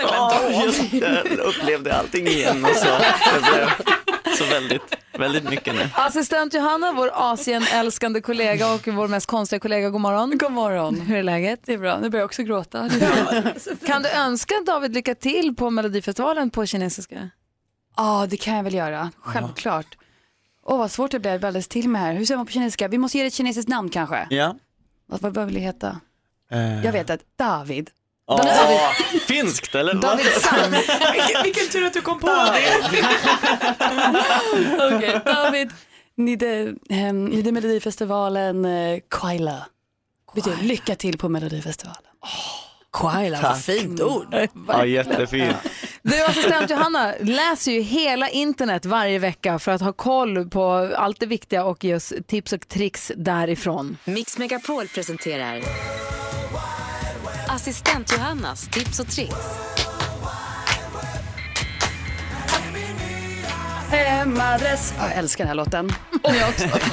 Q: Ja, just det. Jag upplevde allting igen alltså. och så. Det blev så väldigt, väldigt mycket nu.
A: Assistent Johanna, vår Asien-älskande kollega och vår mest konstiga kollega, god morgon.
P: God morgon.
A: Hur är läget?
P: Det är bra, nu börjar jag också gråta.
A: Kan du önska David lycka till på Melodifestivalen på kinesiska?
P: Ja, det kan jag väl göra. Självklart. Åh, vad svårt det blev. Jag blev alldeles till med här. Hur säger man på kinesiska? Vi måste ge det ett kinesiskt namn kanske.
Q: Ja.
P: Vad, vad vad vill det heta?
Q: Eh,
P: Jag vet att David.
Q: ja. Finskt eller? vad?
A: David Sam.
B: vilken, vilken tur att du kom på det.
P: Okej, David. Nide, um, nide Melodifestivalen, eh, Kwaila. Betyder lycka till på Melodifestivalen.
B: Quaila, vad
P: Tack.
B: fint ord.
Q: Ja, jättefint.
A: Du, assistent Johanna, läser ju hela internet varje vecka för att ha koll på allt det viktiga och ge oss tips och tricks därifrån.
N: Mix Megapol presenterar Assistent Johannas tips och tricks.
P: Hemadress. Ja, Jag älskar den här låten. Och jag också.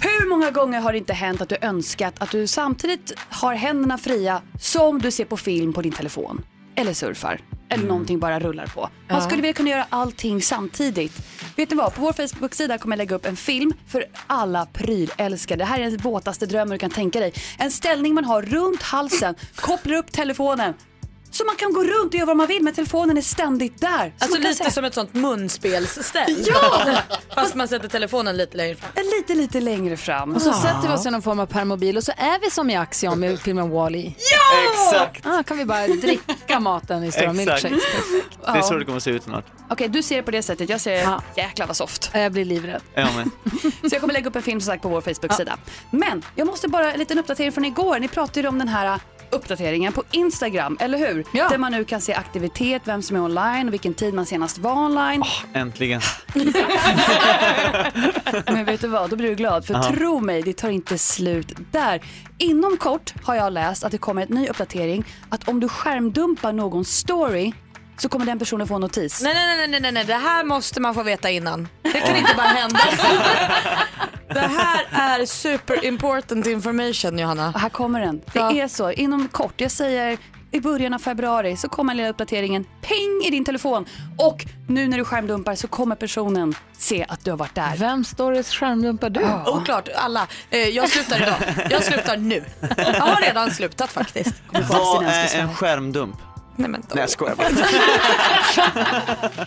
P: Hur många gånger har det inte hänt att du önskat att du samtidigt har händerna fria som du ser på film på din telefon? Eller surfar? Eller någonting bara rullar på. Man skulle vilja kunna göra allting samtidigt. Vet ni vad? På vår Facebook-sida kommer jag lägga upp en film för alla prylälskare. Det här är den våtaste drömmen du kan tänka dig. En ställning man har runt halsen, kopplar upp telefonen. Så man kan gå runt och göra vad man vill men telefonen är ständigt där. Så
B: Alltså
P: man kan
B: lite
P: se-
B: som ett sånt munspelsställ.
P: Ja!
B: Fast man sätter telefonen lite längre fram. Ah.
P: Lite, lite längre fram.
A: Och så sätter vi oss i någon form av permobil och så är vi som i Axiom i filmen Wall-E.
Q: Exakt.
A: Ah, kan vi bara dricka maten i stora
Q: Exakt.
A: milkshakes.
Q: Det är så det kommer se ut snart.
P: Okej, du ser det på det sättet. Jag ser
A: Ja.
P: jäklar vad soft.
A: Jag blir livrädd.
Q: Jag med.
P: Så jag kommer lägga upp en film som sagt på vår Facebook-sida. Men jag måste bara en liten uppdatering från igår. Ni pratade ju om den här uh, uppdateringen på Instagram, eller hur?
A: Ja.
P: Där man nu kan se aktivitet, vem som är online och vilken tid man senast var online.
A: Ah.
Q: Äntligen.
P: Men vet du vad, då blir du glad. För
Q: Aha.
P: tro mig, det tar inte slut där. Inom kort har jag läst att det kommer en ny uppdatering att om du skärmdumpar någons story så kommer den personen få en notis.
B: Nej, nej, nej, nej, nej, nej, det här måste man få veta innan. Det kan inte bara hända. det här är super important information Johanna.
P: Här kommer den. Det är så, inom kort. Jag säger i början av februari så kommer lilla uppdateringen ping i din telefon och nu när du skärmdumpar så kommer personen se att du har varit där.
A: Vem stories skärmdumpar du?
B: Ja. Oklart, alla. Eh, jag slutar idag. Jag slutar nu. Jag har redan slutat faktiskt.
Q: Vad är en skärmdump?
B: Nej, men,
Q: Nej jag skojar bara.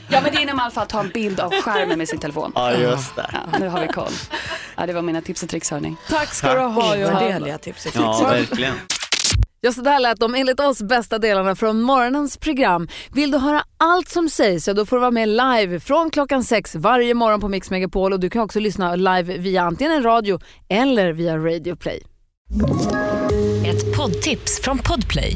P: Ja men det är när man i alla fall tar en bild av skärmen med sin telefon.
Q: Ja just det.
P: Ja, nu har vi koll. Ja, det var mina tips och tricks hörni.
A: Tack ska du ha Johanna.
B: Ovärderliga tips.
Q: Ja verkligen.
A: Ja, så där lät de enligt oss bästa delarna från morgonens program. Vill du höra allt som sägs, ja då får du vara med live från klockan sex varje morgon på Mix Megapol och du kan också lyssna live via antingen en radio eller via Radio Play.
N: Ett poddtips från Podplay.